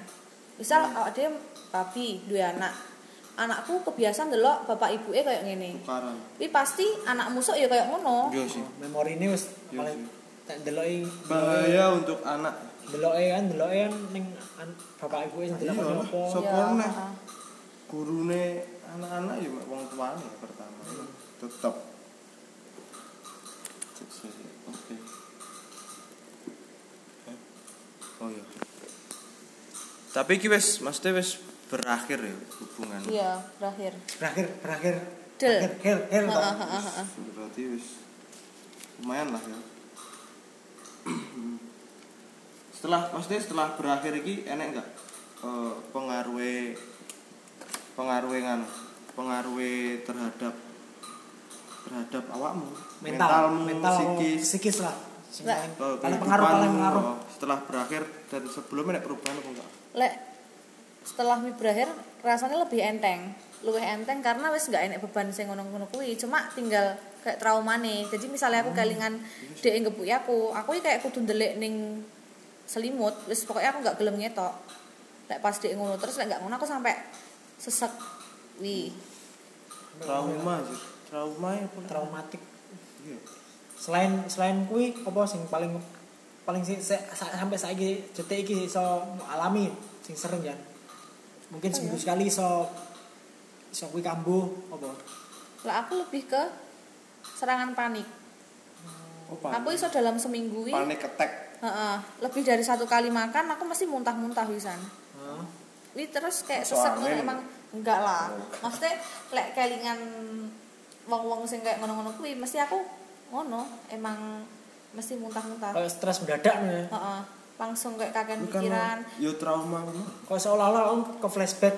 C: misal awak dhewe babi dua anak anakku kebiasaan delok bapak ibu e kayak ngene
A: Tukaran.
C: tapi pasti anak musuk ya kayak ngono
A: Yo Iya sih.
B: memori ini wis
A: Iya sih.
B: paling tak deloki
A: Bahaya untuk anak.
B: deloki kan deloki kan ning an- bapak ibu sing
A: Iya,
B: delok
A: lah.
B: apa
A: Sopo
C: Ya,
A: meneh?
C: ah.
A: Gurune anak-anak ya wong tuane pertama. Tetep. ya. Oke. Hah? Oh iya. Tapi iki wis maksudnya wis berakhir ya hubungan.
C: iya berakhir
B: berakhir berakhir
C: Del.
B: berakhir hel hel
C: Ah,
B: toh.
C: ah, ah, ah, ah.
A: Berarti wis lumayan lah ya. setelah maksudnya setelah berakhir iki enek enggak eh pengaruhe pengaruhe kan pengaruhe terhadap terhadap awakmu
B: mental
A: mentalmu
B: mental
A: psikis
B: psikis Oh, lah Sing
C: Lah.
B: paling-
A: eh,
B: paling pengaruh paling
A: kehidupanmu,
B: pengaruh
A: oh, setelah berakhir dan sebelumnya nek perubahan apa enggak?
C: lek setelah mi berakhir rasanya lebih enteng luwih enteng karena wis nggak enek beban sing ngono-ngono kuwi cuma tinggal kayak trauma nih jadi misalnya aku kelingan dek ngebuki aku aku iki kayak kudu ndelik ning selimut wis pokoknya aku nggak gelem ngetok lek pas dek ngono terus lek nggak ngono aku sampai sesek wi
A: Trauma sih. Trauma ya apa?
B: traumatik
A: Iya.
B: selain selain kui apa sing paling paling sing se, sa- sampai saiki detik iki iso alami sing sering ya mungkin
C: Apa
B: seminggu
C: ya?
B: sekali iso iso kui kambuh apa
C: lek aku lebih ke serangan panik
A: Oh,
C: aku iso dalam seminggu wi
A: panik ketek.
C: heeh, lebih dari satu kali makan aku mesti muntah-muntah wisan
B: Hah?
C: Wi terus kayak
A: Masuk
C: sesek ngono
A: angin.
C: emang enggak lah.
A: Oh.
C: Maksudnya lek kelingan wong-wong sing kayak ngono-ngono kuwi mesti aku ngono, emang mesti muntah-muntah.
B: kayak stres mendadak nih
C: Heeh. Langsung kayak kakean
A: Bukan
C: pikiran.
A: yo trauma ngono.
B: kok seolah-olah aku ke flashback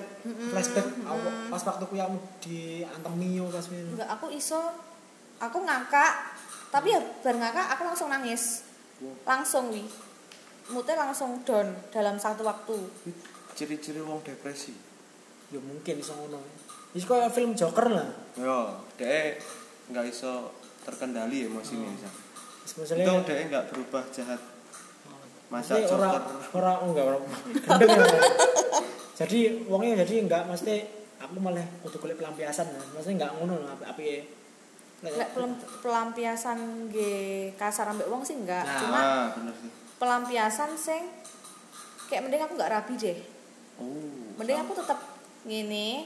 B: flashback aku, pas waktu kui aku di antemio pas ini
C: Enggak aku iso aku ngakak tapi ya bar ngakak aku langsung nangis.
A: Wah.
C: Langsung wi. Mute langsung down dalam satu waktu.
A: Itu Ciri-ciri wong depresi.
B: ya mungkin iso ngono Wis kayak film Joker lah
A: Yo, dek Ya, nggak iso terkendali ya emosinya.
C: Hmm.
A: San.
B: Wis
A: Itu
C: ya.
B: maksudnya
A: dek nggak berubah jahat. Masa
B: Maksudnya
A: Joker.
B: orang orang oh, enggak orang gendeng ya. jadi wongnya jadi enggak mesti aku malah kudu kulit pelampiasan ya. Maksudnya enggak ngono lah api api ya.
C: Lek pelem- pelampiasan nggih kasar ambek wong sih enggak.
B: Nah.
C: Cuma
A: Ah, bener sih.
C: pelampiasan sing kayak mending aku nggak rapi deh
A: Oh.
C: mending aku tetap ngene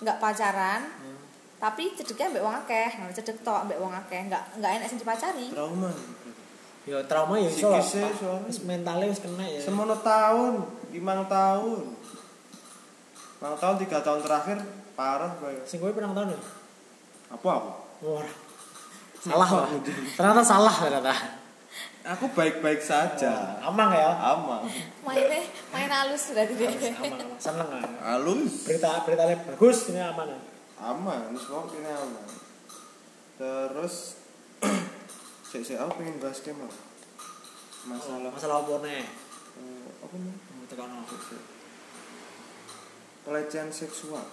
C: nggak pacaran
B: Hmm.
C: tapi cedeknya ambek wong akeh nggak cedek tok ambek wong akeh nggak nggak enak sing dipacari
A: Trauma.
B: Ya trauma ya iso lah.
A: Psikisnya
B: Pak.
A: soalnya.
B: Wis mentalnya wis kena
C: Iya.
B: ya.
A: Semono tahun, limang tahun. Limang tahun, tiga tahun terakhir parah kayak
B: Sing kowe pirang tahun ya?
A: apa aku?
B: Wah. Salah lah. Ternyata salah ternyata.
A: Aku baik-baik saja.
B: Aman nggak ya?
A: Aman.
C: mainnya main halus berarti deh
B: Aman. Seneng ya.
A: Halus.
B: Berita berita bagus ini aman ya.
A: Aman, ini semua ini aman. Terus saya saya aku pengen bahas game apa? Masalah
B: Oh, Masalah opornya.
A: eh, apa nih?
B: Tekan aku.
A: Pelecehan seksual.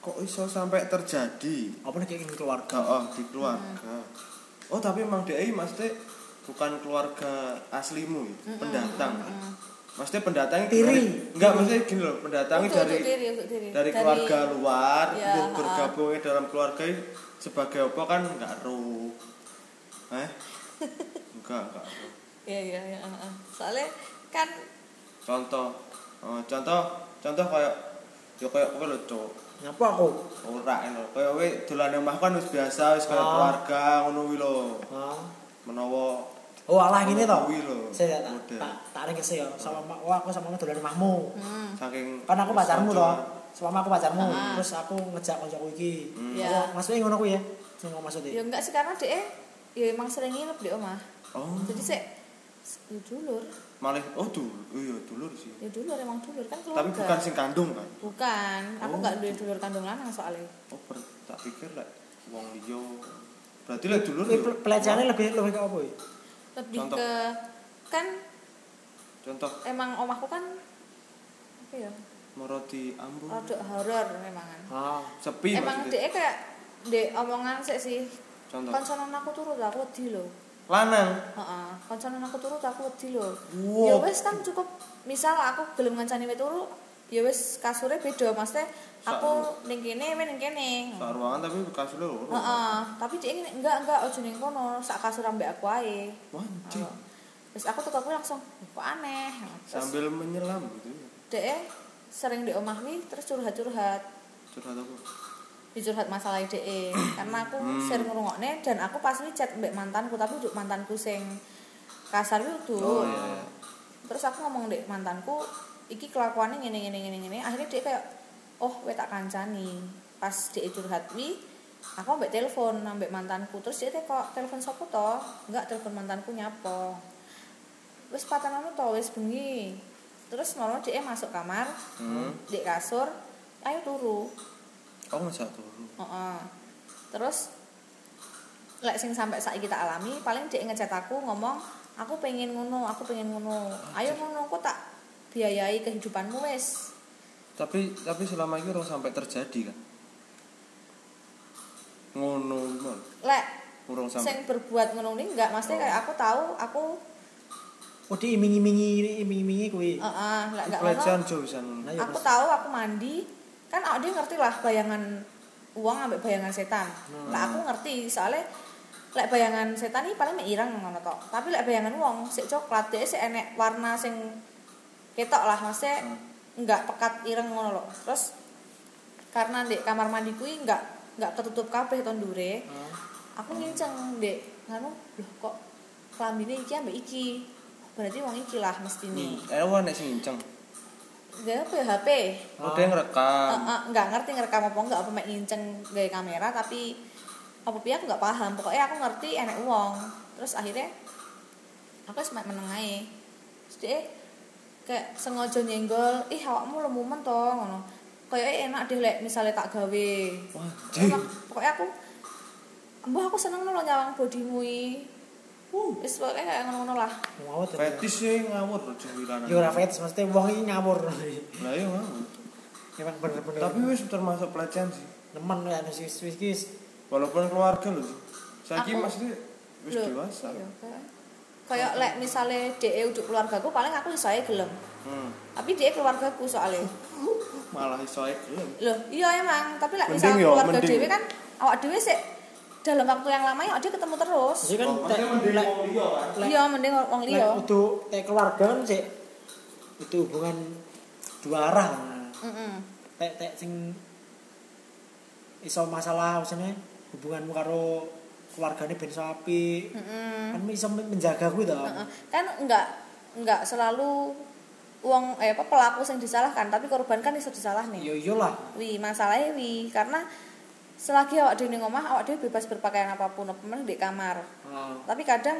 A: Kok iso sampai terjadi?
B: Apa nih kayak gini keluarga?
A: Gak, oh di keluarga. Oh tapi emang DI maksudnya bukan keluarga aslimu, ya? pendatang. Maksudnya pendatangnya
B: Tiri.
A: dari enggak maksudnya gini loh, pendatangnya
C: Untuk-
A: dari
C: untuk diri, untuk diri.
A: dari keluarga luar,
C: Ya,
A: ya,
C: ha.
A: bergabungnya dalam keluarga ini sebagai apa kan enggak ro. Eh? enggak, enggak. ro.
C: iya iya iya heeh. soalnya kan
A: Contoh eh, contoh contoh kayak ya kayak kowe lho, Cuk.
B: Nyapa aku?
A: Ora lho. Kayak kowe dolan omah kan wis biasa, wis
C: Oh.
A: kayak
B: Ah.
A: keluarga ngono kuwi lho.
B: Hah?
A: menawa
B: Oh alah gini toh.
A: Kuwi lho,
B: Saya tak
A: model.
B: tak tak ring kesel ya sama mak- oh, aku sama dolan rumahmu.
C: hmm,
A: saking
B: Kan aku pacarmu toh.
A: Saking-
B: Selama aku pacarmu,
C: Ah.
B: terus aku ngejak kancaku iki.
A: Hmm.
C: Ya.
B: Apa maksudnya ngono kuwi ya? Sing ngomong
C: ya
B: maksudnya.
C: enggak sih karena dia ya emang sering nginep di omah
A: oh
C: jadi sih ya dulur
A: malah oh dulu oh iya dulur sih
C: ya dulur emang dulur kan
A: tapi
C: keluarga
A: bukan sing kandung kan
C: bukan aku
A: Oh.
C: nggak duwe dulur kandung lanang soalnya
A: oh per, tak pikir lah wong liya berarti lah dulur
B: Kuwi
A: ya.
B: pe- pelecehannya lebih lebih ke apa ya?
C: lebih
A: Contoh.
C: ke kan
A: contoh
C: emang omahku kan apa ya
A: Hmm. moro di Ambon
C: rada horor memang kan.
B: Ah.
A: sepi
C: emang
A: maksudnya
C: dia kayak dek omongan sih sih
A: contoh
C: konsonan aku turut aku wedi lho
A: lanang
C: heeh konsonan aku turut aku wedi lho
A: Wow.
C: ya wes kan cukup misal aku gelem ngancani wit turu ya wes kasurnya beda maksudnya aku ning kene weh ning kene
A: sak ruangan tapi bekas lho
C: heeh tapi dia ini enggak enggak ojo ning kono sak kasur ambek aku ae
A: wancing
C: terus aku tuh aku langsung kok aneh terus
A: sambil menyelam gitu ya
C: dek sering di omah nih terus curhat-curhat
A: curhat aku
C: dicurhat masalah IDE karena aku
A: Hmm.
C: sering ngrungokne dan aku pas ini chat mbek mantanku tapi untuk mantanku sing kasar itu
A: oh iya
C: terus aku ngomong dek mantanku iki kelakuannya ngene ngene ngene ngene akhirnya dia kayak oh we tak kancani pas dia curhat wi aku ambek telepon ambek mantanku terus dia teh kok telepon sopo to enggak telepon mantanku nyapo wis patananmu to wis bengi terus malam dia masuk kamar
A: hmm.
C: dek kasur ayo turu
A: oh masa dulu
C: Heeh. Terus lek sing sampai saiki tak alami paling dia ngechat aku ngomong aku pengen ngono aku pengen ngono ayo ngono aku tak biayai kehidupanmu wes
A: tapi tapi selama ini orang sampai terjadi kan ngono mon
C: lek
A: urung sampai
C: sing berbuat ngono ini enggak maksudnya kayak aku tahu aku
B: oh di iming-imingi iming-imingi kuwi
C: eh, eh, lek enggak ngono
A: pelecehan jauh bisa ngono.
B: Nah, ya,
C: aku
B: terus.
C: tahu aku mandi kan awak dia ngerti lah bayangan uang ambek bayangan setan lah aku ngerti soalnya lek bayangan setan ini paling mek ireng ngono tok tapi lek bayangan uang sik coklat dia sik enek warna sing ketok lah maksudnya nggak pekat ireng ngono loh terus karena di kamar mandi kui nggak nggak ketutup kabeh tondure
B: Ah.
C: aku nginceng dek nganu loh kok kelambine iki ambek iki berarti uang iki lah mesti nih
A: eh wah nek sing inceng
C: gak apa ya HP
A: oh
B: Ah.
A: dia ngerekam
C: Eh, eh, nggak ngerti ngerekam apa enggak apa mek nginceng gaya kamera tapi apa pihak nggak paham pokoknya aku ngerti enek uang terus akhirnya aku semak menengahi terus dia kayak sengaja nyenggol ih awakmu lemumen to ngono kayaknya enak deh lek misalnya tak gawe
A: wah
C: Terus aku- pokoknya aku mbah aku seneng lo nyawang bodimu i
B: uh
C: wis pokoknya kayak ngono-ngono lah
B: ngawur ya
A: fetish sih ngawur loh jubilan
B: yo ora fetis maksudnya wong iki ngawur
A: lah iya ngawur
B: emang bener-bener
A: tapi wis termasuk pelecehan sih
B: nemen ya anu sih wis iki
A: walaupun keluarga loh sih saya
C: Aku-
A: maksudnya wis
C: Loh,
A: dewasa
C: iya, kayak- kayak lek misalnya dhek untuk keluargaku paling aku iso ae gelem
A: hmm.
C: tapi dia keluargaku soalnya
A: malah iso ae gelem
C: loh iya emang tapi lah
A: Mending
C: misal
A: yo,
C: keluarga
A: mending.
C: dewi kan awak dewi sih dalam waktu yang lama ya dia ketemu terus
B: sih kan tek lek lek-
C: iya mending wong
B: lek
C: liya
B: kudu tek keluarga kan sih itu hubungan dua arah
C: Mm-mm.
B: tek tek sing iso masalah maksudnya hubunganmu karo keluargane ben iso apik
C: Mm-mm.
B: kan iso menjaga kuwi to
C: Hmm. Heeh. kan enggak enggak selalu uang eh apa pelaku yang disalahkan tapi korban kan bisa disalah nih
B: yo yo lah
C: wi masalahnya wi karena selagi awak dewi ning omah awak dewi bebas berpakaian apapun apa meneh di kamar
A: Ah.
C: tapi kadang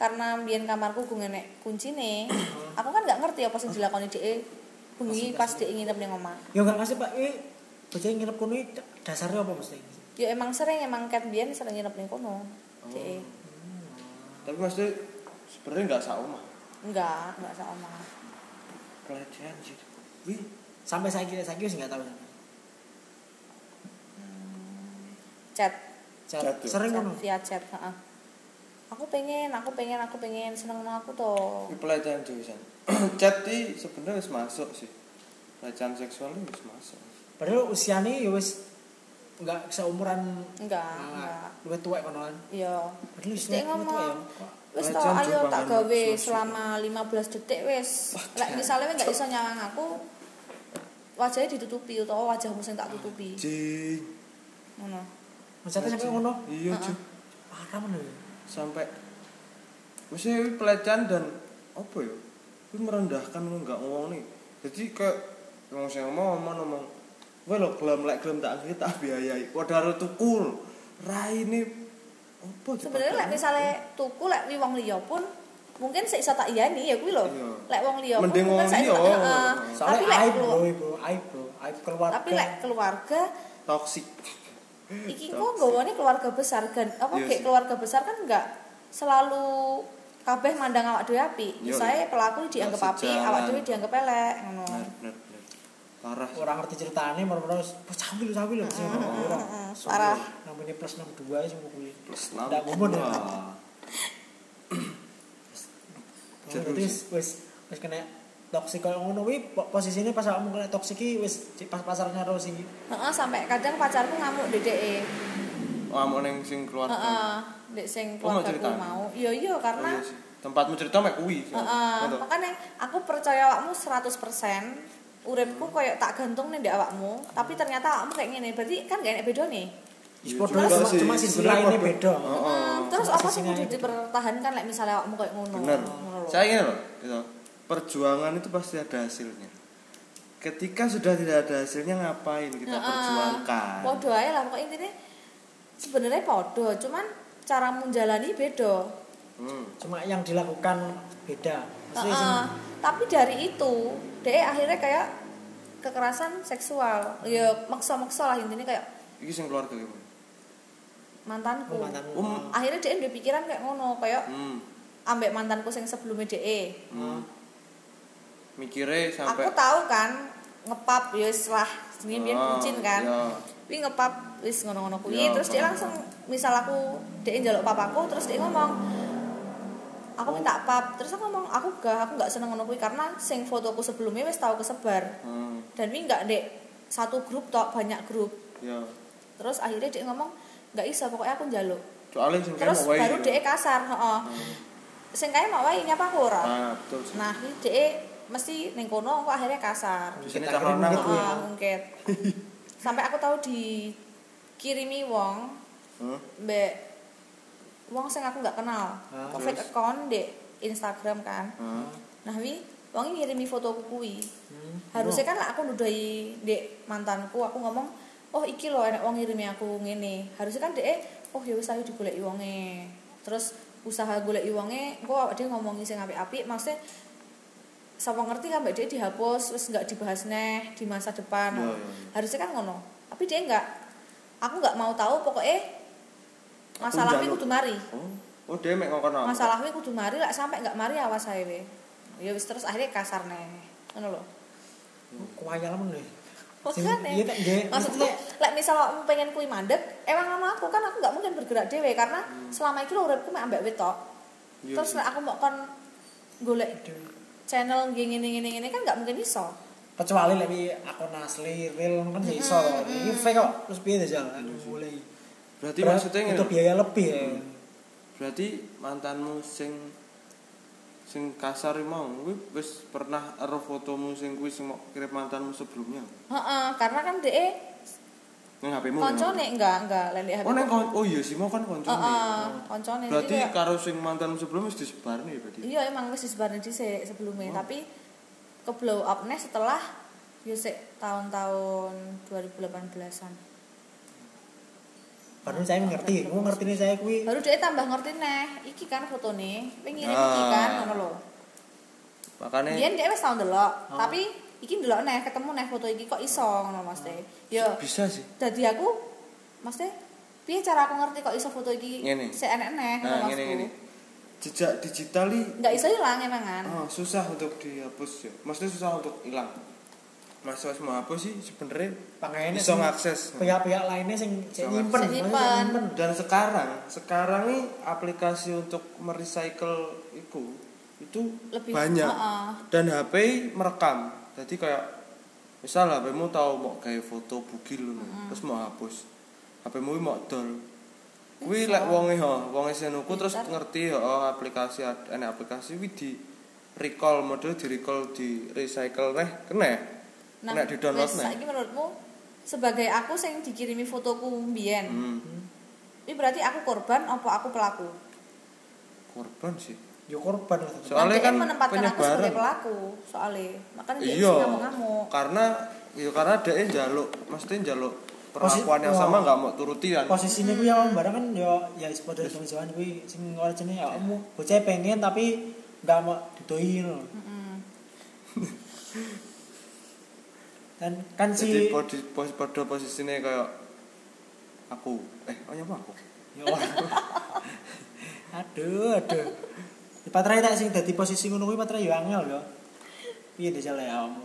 C: karena biyen kamarku gue ngenek kuncine aku kan nggak ngerti apa sing dilakoni dhek bengi pas dhek nginep ning omah
B: yo gak ngasih Pak eh bocah yang nginep kono iki dasarnya apa mesti
C: ya emang sering emang cat biyen sering nginep ning kono E. dhek
A: tapi maksudnya sebenarnya nggak sama
C: enggak enggak sama
A: pelecehan sih wih
B: sampai saiki saiki wis gak tau
C: Hmm. chat
B: Chat-
A: Chat yo.
B: sering
C: chat
B: ngono
C: via chat heeh. aku pengen aku pengen aku pengen seneng no aku toh
A: Ini pelecehan jurusan chat ini sebenarnya wis masuk sih pelecehan seksual ini wis masuk
B: padahal usiane yo wis gak seumuran
C: enggak
B: Ah,
C: enggak
B: luwih tuwek kono kan
C: iya
B: padahal wis luwih luwih
C: Dia
B: tuwek
C: ngomong.
B: ya Kok-
C: wis toh
A: Legend
C: ayo tak
A: Jumbangan
C: gawe
A: Maxus.
C: selama 15 detik wis lek misalnya nggak iso nyawang aku wajahnya ditutupi atau wajahmu sing tak tutupi
A: jing
C: ngono
B: maksudnya sampai ngono
A: iya
C: Heeh.
A: Cuk.
B: parah men lho.
A: sampai maksudnya ini pelecehan dan apa ya itu merendahkan nggak ngomong nih jadi kayak ngomong saya ngomong ngomong ngomong gue lo gelem lek gelem tak akhirnya tak biayai wadah tukul rai ini apa sih,
C: sebenarnya lek
A: padahal?
C: misalnya tuku lek wi wong liya pun mungkin sik iso tak iyani ya kuwi lho.
A: Iya.
C: Lek wong liya pun
A: Mending wong
C: mungkin sik iso tak-
A: liya.
C: heeh. tapi
B: soalnya
C: lek
B: aib
C: kelu-
B: bro bro aib bro aib keluarga
A: kan.
C: tapi lek keluarga
A: toksik
C: iki kok gawane keluarga besar kan apa
A: Iya
C: gek
A: sih.
C: keluarga besar kan enggak selalu kabeh mandang awak dhewe apik.
A: Iya, Iya.
C: Misalnya pelaku dianggap
A: Nggak
C: apik, awak
A: sejalan.
C: dhewe dianggap elek ngono.
A: benar benar benar parah sih.
B: orang ngerti ceritanya baru-baru cawi lu cawi lu
C: heeh, parah.
B: namanya plus 62 ya semua kuwi
A: plus
B: Nggak ngomong ya.
A: 62 Seru
B: berarti wis wis wis kena toksik kalau ngono kuwi po- posisinya pas kamu kena toksik iki wis di- pas pasarnya terus iki
C: Heeh, sampai kadang pacarku ngamuk
A: Iya.
C: dedeke.
A: ngamuk neng sing keluarga
C: Heeh, dek sing
A: Oh, mau
C: keluargaku
A: ceritain?
C: mau. Iya iya
A: Oh,
C: Uh-uh. karena Uh-uh.
A: iya sih. tempatmu cerita mek kuwi sih.
C: Heeh,
A: Ngono.
C: makanya aku percaya awakmu 100% uripku koyo tak gantung nih di awakmu tapi ternyata awakmu kayak gini berarti kan gak enak beda nih
A: Iya
B: Sport
A: juga
B: cuma-
A: sih.
B: cuma sisi
A: Sebenarnya
B: lainnya
A: produk-
B: beda.
A: Heeh.
C: Hmm, terus
B: Cuma
C: apa sih
B: sisinya
C: kudu
B: itu.
C: dipertahankan like misalnya awakmu kayak ngono
A: Bener.
C: Ngono lho.
A: Saya ingin loh, gitu. Perjuangan itu pasti ada hasilnya. Ketika sudah tidak ada hasilnya ngapain kita
C: Heeh.
A: perjuangkan?
C: podo ae lah pokoknya intinya sebenarnya podo cuman cara menjalani beda
A: Hmm.
B: cuma yang dilakukan beda Maksudnya
C: Heeh. tapi dari itu dia akhirnya kayak kekerasan seksual ya maksa-maksa lah intinya kayak
A: Iki sing keluarga gimana?
B: sing- oh, mantanmu.
A: Um.
C: akhirnya dia ada pikiran kayak ngono kayak
A: Hmm.
C: ambek mantanku sing sebelumnya DE.
A: Hmm. Mikire sampai
C: Aku tahu kan ngepap ya wis lah ini biar
A: Ah,
C: bucin kan.
A: iya.
C: Wi ngepap wis ngono-ngono kuwi
A: Iya,
C: terus dia
A: paham.
C: langsung misal aku dia njaluk papaku terus dia ngomong aku minta pap terus aku ngomong aku gak aku gak seneng ngono kuwi karena sing fotoku sebelumnya wis tau kesebar
A: Hmm,
C: dan wi gak dek satu grup tok banyak grup
A: ya.
C: terus akhirnya dia ngomong gak iso pokoknya aku njaluk
A: Soalnya sing
C: terus
A: kaya mau wae
C: baru
A: gitu.
C: dia kasar heeh sing kae mau wae nyapa aku
A: Nah,
C: ora
A: Ah, betul. sih.
C: nah ini dia mesti ning kono aku akhirnya kasar
A: Di sini
B: Akhirnya
A: cah lanang.
B: mungkin tuh ya.
C: Ah, mungkin sampai aku tahu dikirimi wong
A: Hmm.
C: mbek wong sing aku nggak kenal
B: Ah,
C: Aku fake
A: terus?
C: account di Instagram kan
A: Hmm.
C: nah wi wong ngirimi fotoku kuwi
B: Hmm.
C: harusnya kan lah aku nudahi dek mantanku aku ngomong oh iki loh enak wong ngirimi aku ngene harusnya kan dek oh ya wis ayo digoleki wonge terus usaha goleki wonge engko awak dhewe ngomongi sing apik-apik maksudnya sapa ngerti kan mbak dia dihapus terus nggak dibahas neh di masa depan
A: Iya, iya.
C: harusnya kan ngono tapi dia nggak aku nggak mau tahu pokoknya masalah kuwi
A: njaluk.
C: kudu mari
A: Oh, oh dia mek ngongkon aku.
C: masalah kuwi kudu mari lah sampai nggak mari awas ae we ya wis terus akhirnya kasar neh ngono loh
B: Kuaya lah deh.
C: Makanya.
B: Iya tak nggih.
C: Oh, kan ya? Maksudku, lek misal awakmu pengen kui mandek, emang sama aku kan aku nggak mungkin bergerak dhewe karena selama iki lho uripku mek ambek wetok.
A: Iya,
C: Terus
A: iya.
C: lek aku mau kon golek channel gini gini gini, gini kan nggak mungkin iso.
B: kecuali lebih akun asli real kan gak iso loh. ini fake kok terus piye deh jalan mulai
A: Berarti
B: Terus
A: maksudnya ngene.
B: butuh biaya lebih ya
A: Hmm. Berarti mantanmu sing sing kasar mau kuwi wis pernah ero fotomu sing kuwi sing mau kirim mantanmu sebelumnya
C: Heeh, karena kan dhek
A: nang HP-mu.
C: koncone enggak enggak lek
A: Oh nang kon oh iya sih mau kan koncone.
C: Heeh, koncone.
A: Berarti
C: Jadi kayak-
A: karo sing mantanmu sebelumnya wis disebarne ya berarti.
C: Iya emang wis disebarne dhisik sebelumnya,
A: Oh.
C: tapi ke blow up nih setelah yo sik tahun-tahun 2018-an.
B: baru saya ngerti gue ngerti nih saya kui
C: baru dia tambah ngerti neh iki kan fotone pengirim
A: Nah.
C: iki kan ngono lho
A: Makane
C: biyen dia wis tau ndelok
A: Oh.
C: tapi iki ndelok neh ketemu neh foto iki kok iso ngono Mas Teh yo
A: bisa sih.
C: dadi aku Mas Teh piye cara aku ngerti kok iso foto iki
A: Ngene.
C: sik enek neh ngono
A: Nah,
C: maksudku
A: ngene-ngene. Jejak digital i
C: nggak iso ilang emang kan
A: Ah, susah untuk dihapus ya. Maksudnya susah untuk hilang. Mas Mas mau hapus sih sebenarnya
B: pengennya
A: bisa
B: sing-
A: ngakses.
B: pihak-pihak lainnya sing sing
A: Bisa
B: nyimpen
C: ngakses.
B: maksudnya sing
C: Nyimpen.
B: nyimpen
A: Dan sekarang, sekarang ini aplikasi untuk merecycle itu itu
C: Lebih-
A: banyak.
C: Heeh.
A: Dan HP merekam. Jadi kayak misal HPmu tahu mau kayak foto bugil ngono,
C: Hmm.
A: terus mau hapus. HPmu mau dol. Kuwi lek wonge ho, wonge senuku terus
C: Pintar.
A: ngerti ho oh, aplikasi ad- ana aplikasi kuwi di recall model di recall di recycle neh kena.
C: Iya.
A: Kena di download
C: Nah, wis
A: neh.
C: saiki menurutmu sebagai aku sing dikirimi fotoku mbiyen
A: Hmm,
C: ini berarti aku korban apa aku pelaku
A: korban sih.
B: yo korban lah tetep.
A: So- Soalnya
C: Nah, dia
A: kan
C: menempatkan aku sebagai
A: penyebaran.
C: pelaku soalnya makanya dia
A: iya
C: sih ngamuk-ngamuk
A: karena ya karena dia jaluk mesti jaluk
B: Posi-
A: perlakuan yang
B: Wah. Oh,
A: sama nggak mau turuti kan
B: posisinya kui yang barang kan yo ya sepeda hitung jalan kui sing orang jenis ya kamu bocah pengen tapi nggak mau didoin loh.
C: Mm-mm.
B: dan kan
A: jadi
B: si
A: podi, pos, pada posisinya kayak aku eh oh nyapa aku
B: Ya Allah. aduh, aduh. Di Patra tak sing dadi posisi ngono kuwi Patra yo angel yo. Piye deh salah ya kamu?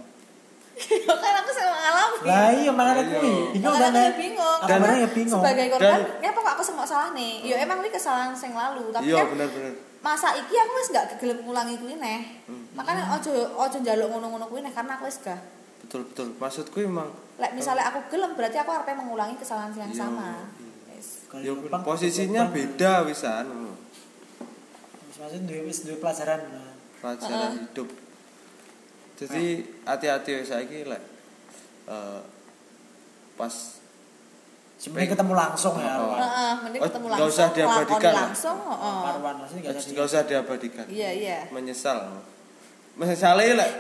C: Ya kan aku sama ngalami.
B: Lah iya makane
A: Iya.
B: kuwi. Bingung kan.
C: Makanya aku ya bingung.
B: Aku
C: karena
B: barang ya bingung.
C: Sebagai korban,
A: Dan- Hmm.
C: ngapa kok aku semok salah nih? Ya emang ini kesalahan sing lalu, tapi
A: iya
C: kan
A: benar-benar
C: masa iki aku wis gak kegelem ngulangi kuwi neh.
A: Hmm.
B: Hmm.
C: Makanya ojo ojo njaluk ngono-ngono kuwi neh karena aku wis gak.
A: betul betul maksudku emang
C: Lek misalnya aku gelem berarti aku arepe mengulangi kesalahan yang
A: Hmm. Iya.
C: sama. Wis.
B: Kalau
A: ya,
B: lubang,
A: posisinya
B: lubang.
A: beda wisan
B: Wis maksudnya duwe wis duwe pelajaran. Nah,
A: pelajaran
C: Heeh.
A: hidup jadi hati-hati saya kira eh, pas
B: Sebenarnya ketemu langsung ya.
A: Oh.
B: Arwan.
C: Heeh, mending
A: Oh,
C: ketemu
A: nggak
C: langsung.
A: usah diabadikan
C: ngelakoni
A: lah.
C: langsung, heeh.
B: Arwan maksudnya enggak
A: nggak usah diabadikan
C: Iya, iya.
A: menyesal menyesale lek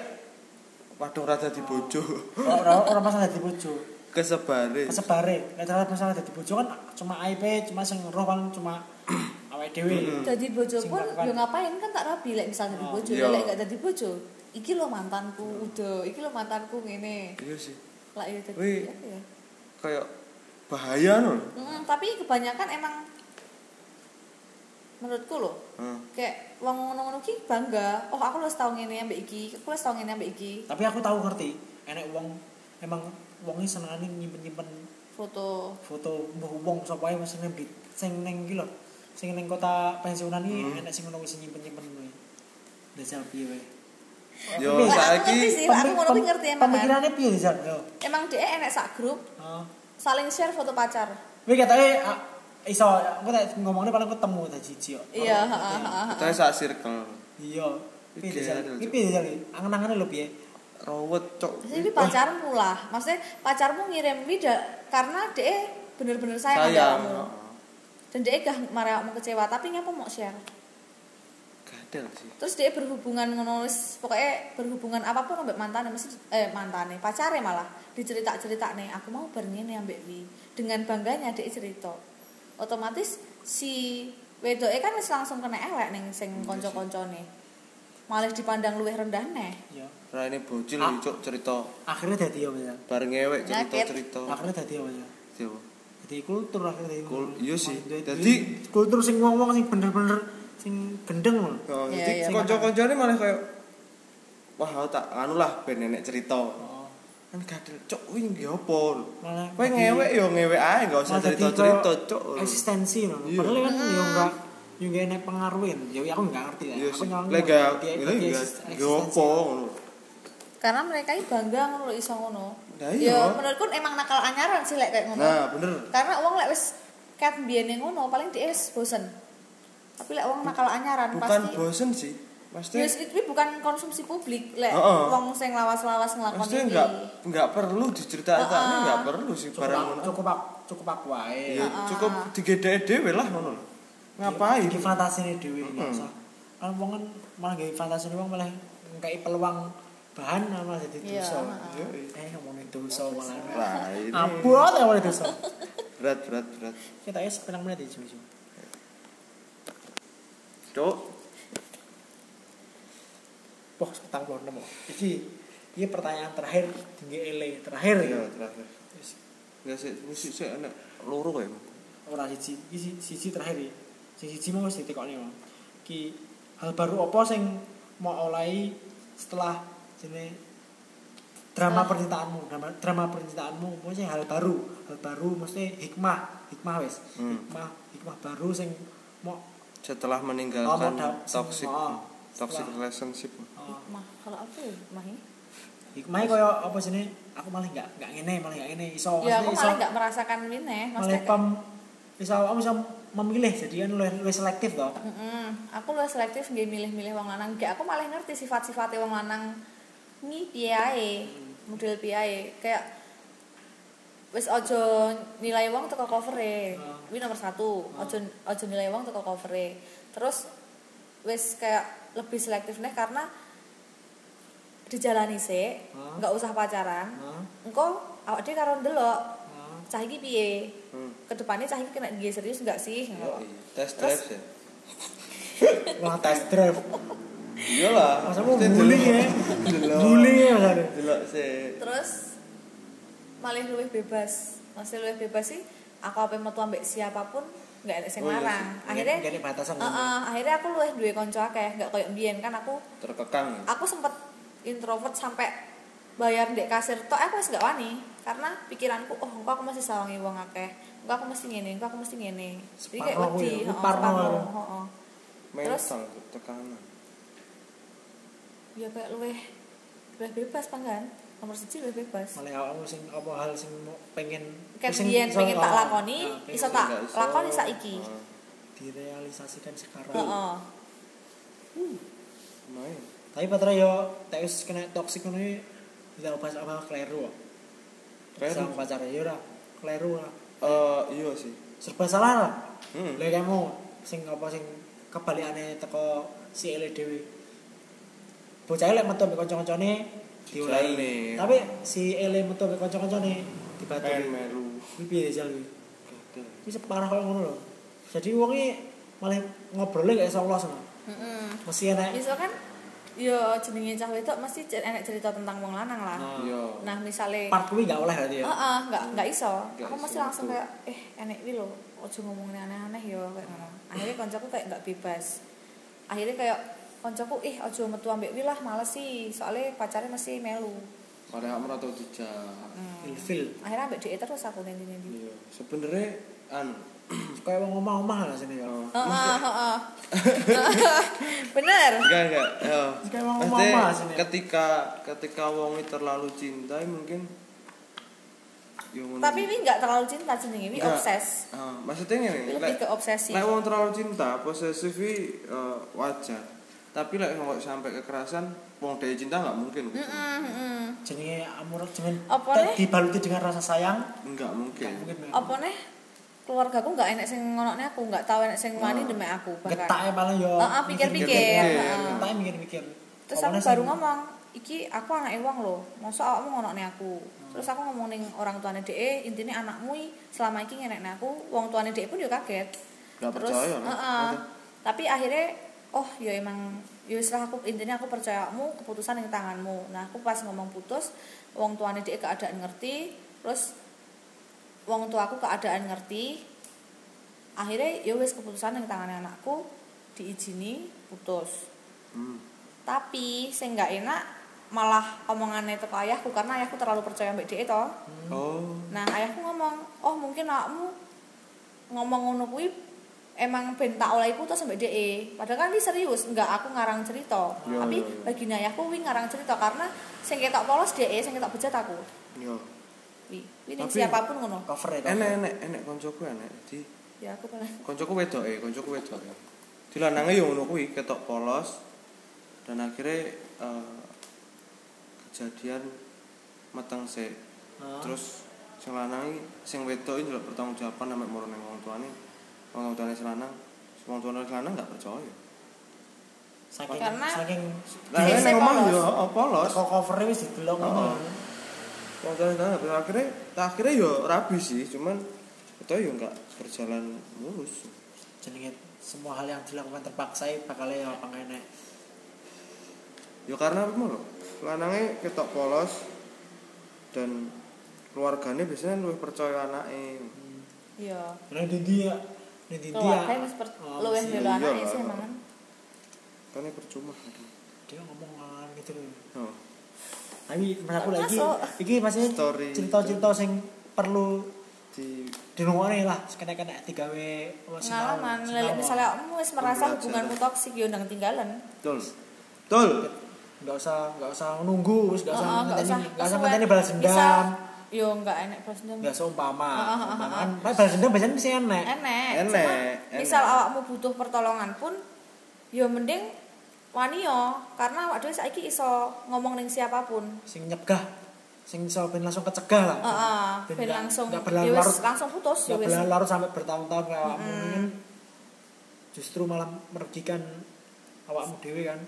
A: waduh rada dibojo
B: Ora ora masalah dadi bojo.
A: kesebare
B: Kesebare. Nek cara masalah dadi bojo kan cuma aib, cuma sing roh kan cuma awake
A: Hmm.
B: dhewe.
C: Jadi bojo
B: Sing
C: pun
B: melakukan.
C: yo ngapain kan tak rabi lek misal dadi
B: Oh,
C: bojo,
A: iya.
C: lek gak dadi bojo. Iki lo mantanku, udah. Iki lo mantanku ngene.
A: iya sih
C: Lah iya dadi
A: Wih.
C: apa ya?
A: kayak bahaya no
C: Mm, tapi kebanyakan emang menurutku loh
A: Hah.
C: kayak wong ngono-ngono ki bangga oh aku wis tau ngene ambek iki aku wis tau ngene ambek iki
B: tapi aku tahu ngerti enek wong emang wonge senengane nyimpen-nyimpen
C: foto
B: foto mbah wong sapa ae mesti nembit sing ning iki lho sing ning kota pensiunan iki
A: Hmm.
B: enek sing ngono wis nyimpen-nyimpen kuwi ndak selfie wae
A: Yo
B: Wah, aku
C: ngerti
A: saiki
C: sih. Iya, aku ngono kuwi ngerti emang, kan.
B: pemikirane piye Zan yo
C: emang dia enek sak grup
B: heeh
C: saling share foto pacar
B: Wih katanya ah, iso aku tak ngomongnya paling ketemu tadi siji yo. Oh,
C: iya heeh heeh,
A: kita
C: heeh.
A: sak circle.
B: Iya. Piye
A: Iki
B: Zan?
A: ada,
B: Iki
A: Cuk.
B: piye Zan? Angen-angene lho piye?
A: Rawet cok.
C: Terus ini pacarmu lah maksudnya pacarmu ngirim bida karena dia bener-bener sayang ambek
A: Sayang.
C: kamu. dan dia gak marah mau kecewa tapi ngapa mau share
A: Gadel sih.
C: terus dia berhubungan ngono wis- pokoknya berhubungan apapun ambek mantan mesti eh mantane pacare malah dicerita cerita nih aku mau bareng ini ambek wi dengan bangganya dia cerita otomatis si wedoke kan wis langsung kena elek ning sing
A: Iya sih.
C: kanca-kancane malah dipandang luwih rendah neh
B: Iya.
A: Raine bocil
B: Ah.
A: iki, cok cerita
B: Akhirnya dadi yo Zan.
A: bareng ewek
C: Nyakit.
A: cerita-cerita.
B: Akhirnya dadi yo Zan.
A: Yo.
B: Jadi kultur akhirnya dadi.
A: Kul- iya sih.
B: Jadi-
A: Jadi-
B: kultur sing wong-wong sing bener-bener sing gendeng lho.
A: Oh,
C: Iya,
A: jadi
C: iya.
A: kanca-kancane malah kayak wah aku tak anu lah ben nenek cerita.
B: Oh.
A: Kan gadel cok kuwi nggih apa lho.
B: Malah
A: Kowe
B: jadi-
A: ngewek yo ngewek ae enggak usah
B: malah jadi
A: cerita-cerita
B: kayak
A: cok.
B: Eksistensi lho.
A: Iya. Hmm.
B: Padahal kan yo enggak yo enggak enek pengaruhin. Ya aku enggak ngerti ya.
A: Iya
B: Aku
A: sih.
B: nyolong.
A: Lek gak
B: dia-
A: lek
B: dia
A: gak
B: eksis-
A: yo
B: eksistensi.
A: apa ngono.
C: karena mereka ini bangga ngono lho iso ngono
A: Nah, iya.
C: ya menurutku emang nakal anyaran sih lek kayak ngono
A: Nah, bener.
C: karena uang lek wis ket mbiyene ngono paling dia wis bosen tapi lek uang nakal
A: Bukan
C: anyaran pasti
A: bosen sih. Pasti
C: Yes, itu bukan konsumsi publik lek
A: Heeh.
C: wong sing lawas-lawas nglakoni
A: Pasti
C: iki.
A: nggak nggak perlu diceritain,
C: Ah.
A: nggak perlu sih
B: cukup
A: barang
B: aku,
A: ngono.
B: cukup aku, cukup aku wae.
A: Ya
C: Ah.
A: cukup digedhe dhewe lah ngono lho. Ngapain? Hmm.
B: Iki fantasine dhewe iki
A: Mm-mm.
B: usah. Kan wong kan malah gawe fantasine wong malah ngkai peluang bahan malah jadi
C: Iya,
B: dosa.
A: Yo,
C: heeh.
A: iya.
B: Eh ngomongin dosa malah.
A: Lah, ini
B: Abot ya ngomongin dosa.
A: berat berat berat.
B: Kita ya sepenang menit iki cuy.
A: Cok,
B: Poh petang puluh enam. Iki iki pertanyaan terakhir tinggi ele terakhir ya.
A: iya terakhir. Enggak sih musik sih enak loro ya.
B: Ora siji iki si- siji terakhir ya. Sing siji mau wis ditekokne Bang. Iki hal baru apa sing mau olai setelah jene drama
C: Setelah-
B: percintaanmu, drama, drama percintaanmu maksudnya hal baru, hal baru maksudnya hikmah, hikmah wis.
A: Hmm.
B: Hikmah, hikmah baru sing mau
A: Setelah
B: Oh, mau
A: meninggalkan
B: dap-
A: toxic
B: oh,
A: toxic
B: setelah-
A: relationship.
B: oh,
C: Mah, kalau apa ya? Mah ini?
B: hikmahnya kaya apa sih ini? aku malah nggak nggak ngene malah nggak ngene iso
C: ya
B: Oh, maksudnya
C: aku malah
B: iso-
C: nggak merasakan ini
B: malah
C: maksudnya
B: pem iso aku bisa memilih jadi kan lebih lebih selektif toh
C: Mm-mm. aku lu selektif nggih milih-milih wong lanang nggih aku malah ngerti sifat-sifate wong lanang ni piye model piye kayak wis ojo nilai wong teko covere
B: Ah.
C: kuwi nomor satu ojo ojo nilai wong teko covere terus wis kayak lebih selektif nih karena dijalani sih
B: Ah.
C: nggak usah pacaran
B: Nah,
C: engko awak dhewe karo ndelok
B: nah.
C: cah iki piye
A: Hmm.
C: kedepannya cah iki kena nggih serius nggak sih
A: Yo, iya. Test drive ya.
B: wah test drive
A: Iyalah.
B: masa mau
A: mesti
B: bully
A: delok.
B: ya
A: Delok.
B: bully ya mas Ari?
A: Delok sih.
C: terus malah luwih bebas masih luwih bebas sih aku apa metu ambek siapapun nggak ada yang
A: Oh, iya
C: larang
A: sih.
C: akhirnya
B: Nggak ada batasan
C: Eh, eh, akhirnya aku luwih duwe kanca akeh nggak koyo mbiyen kan aku
A: Terkekang ya.
B: Ah,
C: aku sempet introvert sampai bayar dek kasir tok aku wis nggak wani karena pikiranku oh engko aku mesti sawangi wong akeh engko aku mesti ngene engko aku mesti ngene jadi kayak
B: Separno aku
C: wedi
B: ya, aku
C: heeh,
B: parno.
C: separno, heeh. Terus?
A: Mental tekanan.
C: ya kayak luwih luwih bebas panggan nomor siji luwih bebas
B: malah awakmu sing apa hal sing mau pengen
C: Ket
B: sing
C: biyen
B: iso-
C: pengen tak
B: oh,
C: lakoni,
B: oh, pengen
C: iso
B: sing
C: tak-
A: Nggak iso.
C: lakoni saiki.
A: Ah,
B: direalisasikan sekarang
C: Heeh.
A: lumayan.
B: tapi patra yo tak wis kena toxic ngono iki tidak bahas apa kleru kok.
A: Kleru.
B: sama pacarnya yo ora kleru lah
A: Eh, iya sih.
B: serba salah lah
A: Hmm.
B: lha kamu sing apa sing kebalikane teko si ele dhewe bocah lek metu ambek kanca-kancane
A: Dijalani.
B: diulai tapi si ele metu ambek kanca-kancane
A: Pengen
B: dibaturi
A: melu.
B: kuwi piye jal kuwi
A: Gadel.
B: Kuwi separah koyo ngono lho jadi wong iki malah ngobrolnya gak iso los ngono
C: Heeh.
B: mesti enek
C: Bisa kan yo jenenge cah wedok mesti cer- enek cerita tentang wong lanang lah
B: Nah.
A: Iya.
C: nah misalnya
B: part kuwi nggak oleh berarti ya
C: Heeh, nggak nggak iso.
A: Nggak
C: aku
A: iso,
C: mesti langsung
A: betul.
C: kayak eh enek iki lho, ojo ngomongin aneh-aneh ya kayak ngono. Akhirnya koncoku kayak nggak bebas. Akhirnya kayak koncoku ih ojo metu ambek kuwi lah males sih, soalnya pacarnya mesti melu.
A: Padahal aku merata dijak.
C: Hmm.
B: ilfil
C: Akhirnya ambek dhek terus aku nanti-nanti.
A: Iya. Sebenarnya anu
B: kayak wong omah-omah lah sini ya
C: Oh. Heeh, heeh. Bener.
A: enggak enggak. Yo.
B: Kayak wong
A: Maksudnya,
B: omah-omah sini.
A: ketika ketika wongi terlalu cintai mungkin yo ngono.
C: Tapi ini nggak terlalu cinta jenenge, ini
A: Nggak.
C: obses.
A: Ah, maksudnya
C: Ini
A: ngene, lek
C: lebih ke obsesi.
A: Lek wong terlalu cinta, posesif iki eh, wajar. Tapi lek kok sampai kekerasan, wong dhewe cinta nggak mungkin. gitu.
C: Heeh, heeh.
B: jenenge amur jenenge
C: Apa
B: te-
C: nih?
B: dibaluti dengan rasa sayang
A: Nggak mungkin.
B: mungkin
C: Apa nih? Keluargaku nggak enek sing ngonokne aku, nggak tahu enek sing
A: Nah.
C: wani demek aku bahkan.
B: getake paling yo
C: Heeh, pikir-pikir.
A: Mikir-mikir.
C: Heeh.
B: getake mikir-mikir
C: terus aku
B: Awalnya
C: baru
B: sing-
C: ngomong iki aku anak uang loh masa awakmu ngono aku terus aku ngomong ning orang tuane dhek intinya anakmu i selama iki ngenek aku wong tuane dhek pun yo kaget
A: Nggak
C: terus
A: percaya. kan? lah.
C: heeh. tapi akhirnya oh ya emang ya wis lah aku intinya aku percaya kamu keputusan yang tanganmu nah aku pas ngomong putus wong tuane dhek keadaan ngerti terus wong tuaku keadaan ngerti akhirnya ya wis keputusan yang tangan anakku diizini putus
A: Hmm.
C: tapi sing nggak enak malah omongannya teko ayahku karena ayahku terlalu percaya mbak dia toh
A: Oh,
C: nah ayahku ngomong oh mungkin awakmu ngomong ngono kuwi emang ben tak oleh putus mbak dia padahal kan ini serius nggak aku ngarang cerita
A: Iya,
C: tapi
A: iya, iya.
C: bagi ayahku kuwi ngarang cerita karena sing ketok polos dia sing ketok bejat aku
A: yo.
C: Wi, wi ning
A: Tapi-
C: siapapun ngono
B: cover ya
A: iya.
B: cover.
A: Enek enek enek koncoku enek. Di
C: ya aku pernah
A: koncoku wedoke, koncoku wedoke. e. Dilanange yo ngono kuwi, ketok polos. Dan akhirnya eh, kejadian mateng sik.
B: Heeh.
A: terus sing lanang iki- sing wedok iki njaluk pertanggungjawaban sampe moro ning wong tuane wong tuane sing lanang wong tuane sing lanang gak percaya
B: saking
C: Karena-
B: saking
A: lah
C: Iya,
A: nek oh,
C: sing
A: ngomong
C: polos.
A: yo apa los
B: teko covernya wis didelok ngono
A: Heeh. wong tuane sing lanang gak percaya akhirnya akhirnya yo rabi sih cuman itu yo gak berjalan mulus
B: jenenge semua hal yang dilakukan terpaksa iki bakal ya apa enek
A: yo karena apa lho lanange ketok polos dan keluargane biasanya lebih percaya anake
C: ya
B: Nah, di dia, nah, di dia,
C: keluarga wis per
B: Oh,
C: luwih
B: si-
C: melu anake
A: iya.
C: sih emang kan.
A: kan ini percuma
B: dia ngomong ngalan gitu loh.
A: oh.
B: Tapi menurut aku lagi,
C: Masuk.
B: iki masih
A: Story. gitu.
B: cerita-cerita sing perlu
A: di
B: dirungokne lah, oh, sekena-kena tiga w
C: pengalaman lelek misalnya kamu wis merasa
A: Pembelajaran.
C: hubunganmu toksik yo ndang tinggalan
A: tol tol
B: nggak usah nggak usah nunggu, wis nggak usah
C: Heeh, nggak
B: ngenteni, nggak usah
C: kesuwen.
B: ngenteni balas
C: Bisa.
B: dendam,
C: Yo enggak enek balas dendam.
B: nggak usah umpama.
C: Heeh, heeh,
B: Umpama
C: heeh.
B: kan, Pak, balas dendam biasanya bisa enak.
C: Enek.
A: Enek,
C: Cuma,
A: enek.
C: Misal awakmu butuh pertolongan pun yo mending wani yo karena awak dhewe saiki iso ngomong ning siapapun.
B: Sing nyegah, sing iso ben langsung kecegah lah.
C: Heeh,
B: Ben
C: ben
B: nggak-
C: langsung
B: nggak berlarut-
C: yo wis langsung putus
B: Ya
C: yo wis.
B: berlarut sampai bertahun-tahun kayak awakmu ini kan justru malah merugikan awakmu dewe kan.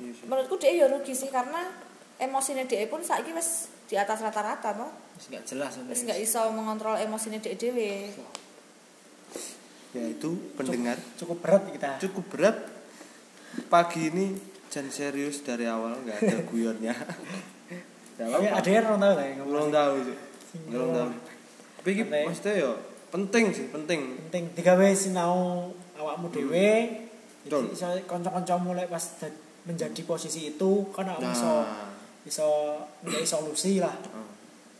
A: Iya sih.
C: Menurutku dhek yo rugi sih karena emosine dhek pun saiki wis di atas rata-rata toh.
B: Wis nggak jelas
C: Wis
B: sebenarnya.
C: enggak iso mengontrol emosine dhek dhewe.
A: ya itu pendengar
B: Cukup berat kita.
A: cukup berat pagi ini jangan serius dari awal nggak ada guyonnya nggak
B: Tapi ada yang orang tahu lah yang ngomong
A: belum tahu sih belum tahu tapi ini
B: Penting.
A: maksudnya ya penting sih penting
B: penting tiga w sinau awakmu dewe.
A: Betul.
B: Jadi iso kanca-kanca mulai pas da- menjadi posisi itu kan awakmu
A: nah
B: iso iso nggak solusi lah.
A: ah.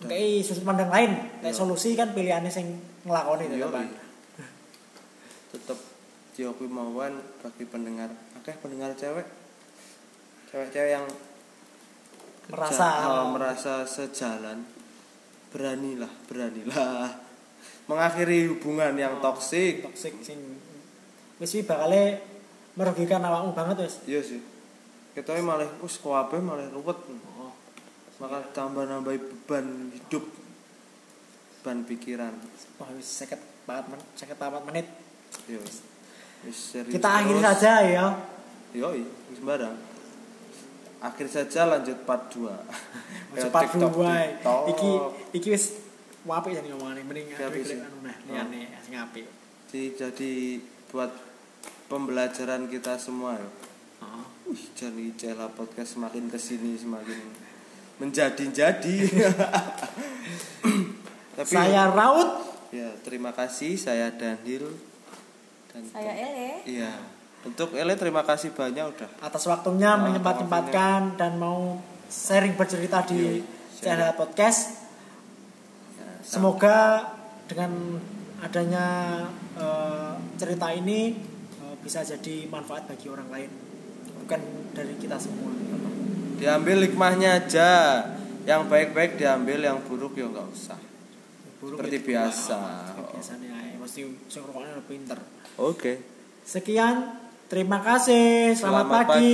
B: Kayak sudut pandang lain,
A: Iya.
B: kayak solusi kan pilihannya sing ngelakoni
A: Iya,
B: itu kan.
A: iya. tetap Jokowi mauan bagi pendengar akeh pendengar cewek cewek-cewek yang
B: Merasa
A: Ja- oh, merasa sejalan beranilah beranilah mengakhiri hubungan yang toksik
B: toksik sing wis iki bakale merugikan awakmu banget wis.
A: iya sih kita malah us kuabe malah ruwet
B: Oh,
A: maka tambah nambah beban hidup beban pikiran
B: wah wis 50 banget men, 54 menit.
A: iya wis Wis serius
B: Kita akhiri
A: terus.
B: saja ya.
A: yoi wis sembarang akhir saja lanjut part 2 Ayo,
B: Cepat
A: TikTok, TikTok.
B: duwe. eh.
A: Iya,
B: Iki iki wis apik jane ngomongane mending
A: Iki apik sih.
B: akhirnya anu nah, liyane
A: Iya.
B: sing apik.
A: Jadi- jadi buat pembelajaran kita semua ya
B: Heeh.
A: Wih, jadi Cela podcast semakin kesini semakin menjadi-jadi. Tapi
B: saya raut
A: ya terima kasih saya Daniel dan
C: Saya Ele.
A: Iya. Untuk Ele terima kasih banyak udah.
B: atas waktunya
A: Nah,
B: menyempat-nyempatkan dan mau sharing bercerita di
A: Iya, sharing.
B: channel podcast.
A: Nah, sam-
B: Semoga dengan adanya eh, cerita ini eh, bisa jadi manfaat bagi orang lain, bukan dari kita semua.
A: Diambil hikmahnya aja. Yang baik-baik diambil, yang buruk ya nggak usah.
B: Buruk
A: Seperti
B: itu-
A: biasa.
B: Seperti biasa nih, ay. mesti sing rokoknya lebih pinter.
A: Oke.
B: Sekian, terima kasih. Selamat, pagi.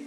A: pagi.